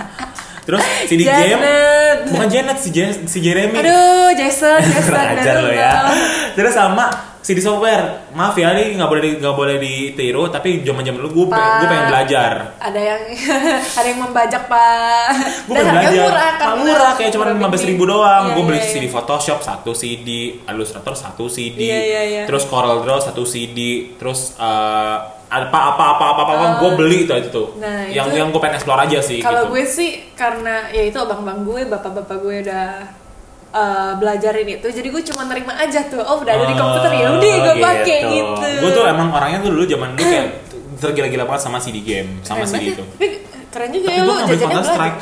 [SPEAKER 2] Terus si di game
[SPEAKER 1] Janet.
[SPEAKER 2] bukan Janet si, Jen- si Jeremy.
[SPEAKER 1] Aduh, Jason, Jason.
[SPEAKER 2] Kurang
[SPEAKER 1] Jason,
[SPEAKER 2] ajar lo ya.
[SPEAKER 1] tau.
[SPEAKER 2] Terus sama CD software, maaf ya ini nggak boleh di- nggak boleh ditiru, tapi zaman zaman dulu gue pengen,
[SPEAKER 1] Pak.
[SPEAKER 2] gue pengen belajar.
[SPEAKER 1] Ada yang ada yang membajak pak.
[SPEAKER 2] Gue pengen
[SPEAKER 1] harganya ya,
[SPEAKER 2] belajar.
[SPEAKER 1] Murah,
[SPEAKER 2] Murah,
[SPEAKER 1] karena
[SPEAKER 2] murah kayak cuma
[SPEAKER 1] murah
[SPEAKER 2] lima belas ribu
[SPEAKER 1] bikin.
[SPEAKER 2] doang.
[SPEAKER 1] Iya,
[SPEAKER 2] gue beli
[SPEAKER 1] iya,
[SPEAKER 2] CD
[SPEAKER 1] iya.
[SPEAKER 2] Photoshop satu CD, Illustrator satu CD,
[SPEAKER 1] Iya, iya, iya.
[SPEAKER 2] terus Corel Draw satu CD, terus eh, apa apa apa apa apa, gue beli itu itu
[SPEAKER 1] Oh.
[SPEAKER 2] tuh.
[SPEAKER 1] Nah,
[SPEAKER 2] yang
[SPEAKER 1] itu-
[SPEAKER 2] yang gue pengen explore aja sih.
[SPEAKER 1] Kalau
[SPEAKER 2] gitu.
[SPEAKER 1] gue sih karena ya itu abang-abang gue, bapak-bapak gue udah eh, belajarin itu, jadi gue cuma nerima aja tuh. Oh udah ada di komputer ya, udah gue pakai gitu.
[SPEAKER 2] Gue Eh, Ah, tuh emang orangnya tuh dulu zaman dulu kayak tergila-gila banget sama CD game, sama
[SPEAKER 1] Keren
[SPEAKER 2] CD
[SPEAKER 1] banget
[SPEAKER 2] itu.
[SPEAKER 1] ya. Tapi keren juga
[SPEAKER 2] Tapi
[SPEAKER 1] ya
[SPEAKER 2] gue
[SPEAKER 1] lu
[SPEAKER 2] ngambil
[SPEAKER 1] jajannya
[SPEAKER 2] Counter
[SPEAKER 1] belajar.
[SPEAKER 2] Strike.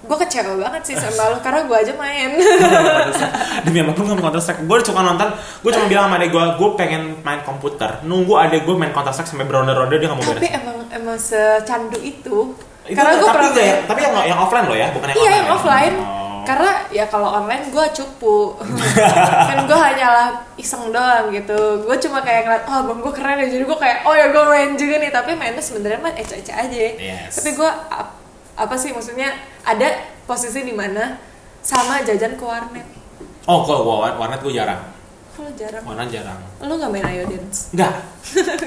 [SPEAKER 1] Gue kecewa banget sih sama lu karena gue aja main.
[SPEAKER 2] demi apapun gue main Counter Strike gue suka nonton gue cuma bilang sama adek gue gue pengen main komputer nunggu adek gue main Counter Strike sampai beronde-ronde dia nggak mau
[SPEAKER 1] tapi
[SPEAKER 2] beres
[SPEAKER 1] emang emang secandu itu.
[SPEAKER 2] Itu
[SPEAKER 1] karena
[SPEAKER 2] nggak-
[SPEAKER 1] gue
[SPEAKER 2] tapi
[SPEAKER 1] pernah
[SPEAKER 2] nggak ya tapi yang yang offline loh ya bukan yang
[SPEAKER 1] Iya
[SPEAKER 2] online
[SPEAKER 1] yang
[SPEAKER 2] ya?
[SPEAKER 1] offline.
[SPEAKER 2] Oh.
[SPEAKER 1] Karena ya kalau online gue cupu. kan gue hanyalah iseng doang gitu. Gue cuma kayak ngeliat, oh bang gue keren ya. Jadi gue kayak, oh ya gue main juga nih. Tapi mainnya sebenarnya mah ece-ece aja.
[SPEAKER 2] Yes.
[SPEAKER 1] Tapi gue ap- apa sih maksudnya ada posisi di mana sama jajan ke warnet.
[SPEAKER 2] oh kalau gue war- warnet gue jarang
[SPEAKER 1] Kalau jarang.
[SPEAKER 2] warnet jarang
[SPEAKER 1] Lu nggak main Ayodance?
[SPEAKER 2] Enggak.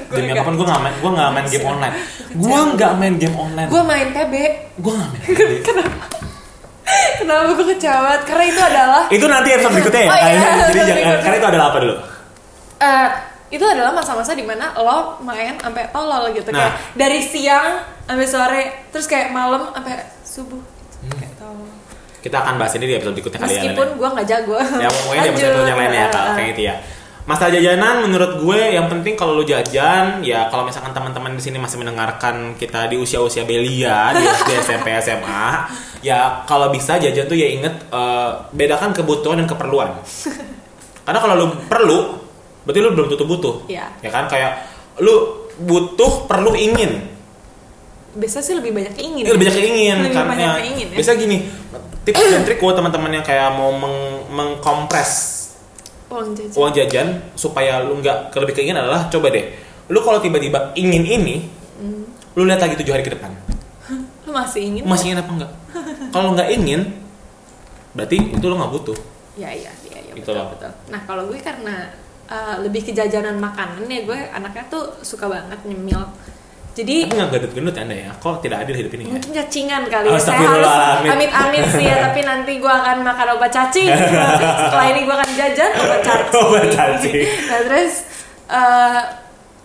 [SPEAKER 1] Gua
[SPEAKER 2] Demi
[SPEAKER 1] nggak.
[SPEAKER 2] apapun gue nggak main, gue nggak main game online. Gue nggak main game online.
[SPEAKER 1] Gue main TB.
[SPEAKER 2] Gue nggak main. game.
[SPEAKER 1] Kenapa gue kecewa? Karena itu adalah
[SPEAKER 2] Itu nanti episode berikutnya ya.
[SPEAKER 1] Oh, iya,
[SPEAKER 2] kayaknya. Jadi
[SPEAKER 1] episode
[SPEAKER 2] jangan.
[SPEAKER 1] berikutnya.
[SPEAKER 2] Karena itu adalah apa dulu?
[SPEAKER 1] eh itu adalah masa-masa dimana lo main sampai tolol gitu
[SPEAKER 2] Nah.
[SPEAKER 1] kayak dari siang sampai sore terus kayak malam sampai subuh gitu. kayak tolol
[SPEAKER 2] Kita akan bahas Hmm. ini di episode berikutnya kali ya. Lena.
[SPEAKER 1] meskipun gua nggak jago
[SPEAKER 2] ya pokoknya dia
[SPEAKER 1] Lanjut.
[SPEAKER 2] pesan yang lain ya kalau
[SPEAKER 1] Ah.
[SPEAKER 2] kayak gitu ya masalah jajanan menurut gue yang penting kalau lu jajan ya kalau misalkan teman-teman di sini masih mendengarkan kita di usia-usia belia di SD SMP SMA ya kalau bisa jajan tuh ya inget eh, bedakan kebutuhan dan keperluan karena kalau lu perlu berarti lu belum tutup butuh
[SPEAKER 1] Iya.
[SPEAKER 2] ya kan kayak lu butuh perlu ingin
[SPEAKER 1] biasa sih lebih banyak ingin
[SPEAKER 2] ini Iya, lebih banyak ingin
[SPEAKER 1] lebih
[SPEAKER 2] karena
[SPEAKER 1] banyak ingin ya.
[SPEAKER 2] biasa gini tips dan trik buat teman-teman yang kayak mau meng- mengkompres
[SPEAKER 1] uang jajan
[SPEAKER 2] uang jajan supaya lu nggak ke- lebih keingin adalah coba deh lu kalau tiba-tiba ingin ini
[SPEAKER 1] Hmm.
[SPEAKER 2] lu lihat lagi tujuh hari ke depan
[SPEAKER 1] lu masih ingin
[SPEAKER 2] masih ingin apa enggak kalau nggak ingin berarti itu lu nggak butuh
[SPEAKER 1] ya iya iya ya,
[SPEAKER 2] Gitu
[SPEAKER 1] betul
[SPEAKER 2] loh.
[SPEAKER 1] betul nah kalau gue karena eh, lebih ke jajanan makanan ya gue anaknya tuh suka banget nyemil jadi
[SPEAKER 2] tapi nggak gendut-gendut anda ya kok tidak adil hidup ini ya
[SPEAKER 1] mungkin cacingan kali ya saya harus
[SPEAKER 2] Astagfirullahaladzim.
[SPEAKER 1] amit-amit sih ya tapi nanti gue akan makan obat cacing setelah ini gue akan jajan obat cacing,
[SPEAKER 2] Obat cacing.
[SPEAKER 1] nah terus eh,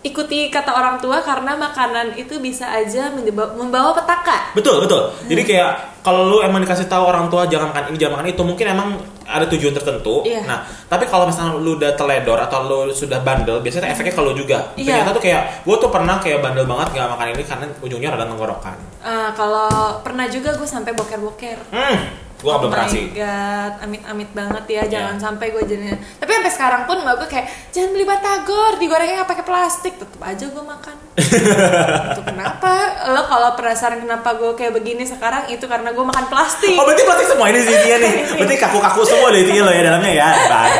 [SPEAKER 1] ikuti kata orang tua karena makanan itu bisa aja menjeba- membawa petaka
[SPEAKER 2] betul betul
[SPEAKER 1] Hmm.
[SPEAKER 2] jadi kayak kalau lu emang dikasih tahu orang tua jangan makan ini jangan makan itu mungkin emang ada tujuan tertentu
[SPEAKER 1] Iya.
[SPEAKER 2] nah tapi kalau misalnya lu udah teledor atau lu sudah bandel biasanya efeknya kalau juga
[SPEAKER 1] Hmm. Iya.
[SPEAKER 2] ternyata tuh kayak gua tuh pernah kayak bandel banget nggak makan ini karena ujungnya rada tenggorokan
[SPEAKER 1] Eh, kalau pernah juga gue sampai boker-boker
[SPEAKER 2] hmm gua nggak belum
[SPEAKER 1] Oh
[SPEAKER 2] pernah
[SPEAKER 1] my
[SPEAKER 2] sih
[SPEAKER 1] god, amit-amit banget ya, jangan
[SPEAKER 2] Iya.
[SPEAKER 1] sampai gue jadinya. Tapi sampai sekarang pun mbak gue kayak jangan beli batagor, digorengnya nggak pakai plastik, tetep aja gue makan. itu kenapa? Lo kalau penasaran kenapa gue kayak begini sekarang itu karena gue makan plastik.
[SPEAKER 2] Oh berarti plastik semua ini sih isinya nih. Berarti kaku-kaku semua deh isinya lo ya dalamnya ya.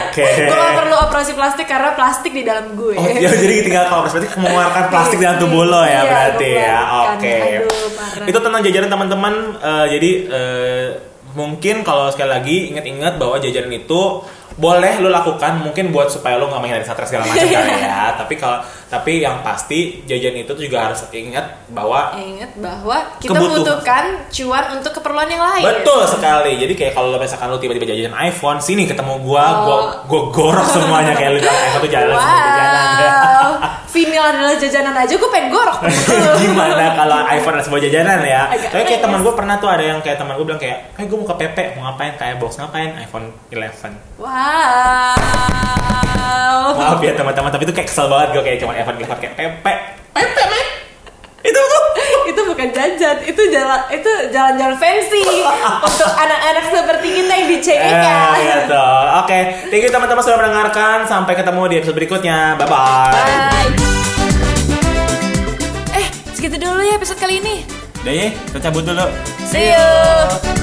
[SPEAKER 2] Oke.
[SPEAKER 1] Gue gak perlu operasi plastik karena plastik di dalam gue.
[SPEAKER 2] Oh ya jadi tinggal kalau perspektif mengeluarkan plastik dalam tubuh lo ya
[SPEAKER 1] Iya,
[SPEAKER 2] berarti ya.
[SPEAKER 1] mengeluarkan.
[SPEAKER 2] Oke.
[SPEAKER 1] Aduh, parah.
[SPEAKER 2] Itu tentang jajanan teman-teman. Eh, jadi eh, mungkin kalau sekali lagi ingat-ingat bahwa jajanan itu boleh lo lakukan mungkin buat supaya lo nggak menghindari stres segala macam kali ya. Tapi kalau tapi yang pasti jajan itu tuh juga harus ingat bahwa
[SPEAKER 1] Ingat bahwa kita
[SPEAKER 2] Kebutuhan.
[SPEAKER 1] membutuhkan cuan untuk keperluan yang lain.
[SPEAKER 2] Betul sekali. Jadi kayak kalau lo misalkan lo tiba-tiba jajan iPhone, sini ketemu gua,
[SPEAKER 1] Oh.
[SPEAKER 2] gua, gua gorok semuanya kayak lo bilang iPhone tuh jalan semua jajanan.
[SPEAKER 1] Wow, vinyl adalah jajanan aja, gue pengen gorok.
[SPEAKER 2] Gimana kalau iPhone ada semua jajanan ya?
[SPEAKER 1] Agak
[SPEAKER 2] Tapi kayak
[SPEAKER 1] pedes.
[SPEAKER 2] teman gua pernah tuh ada yang kayak teman gua bilang kayak, "Eh, gua mau ke PP, mau ngapain? Kayak box ngapain? iPhone 11."
[SPEAKER 1] Wow.
[SPEAKER 2] Maaf ya teman-teman, tapi itu kayak kesel banget gua kayak cuman iPhone 11 kayak PP. PP, men. Itu tuh
[SPEAKER 1] bukan jajan itu jalan itu jalan-jalan fancy untuk anak-anak seperti kita yang di CE
[SPEAKER 2] Eh,
[SPEAKER 1] kan
[SPEAKER 2] gitu. Oke, thank you teman-teman sudah mendengarkan. Sampai ketemu di episode berikutnya. Bye-bye.
[SPEAKER 1] Bye. Eh, segitu dulu ya episode kali ini.
[SPEAKER 2] Deh, kita cabut dulu.
[SPEAKER 1] See you.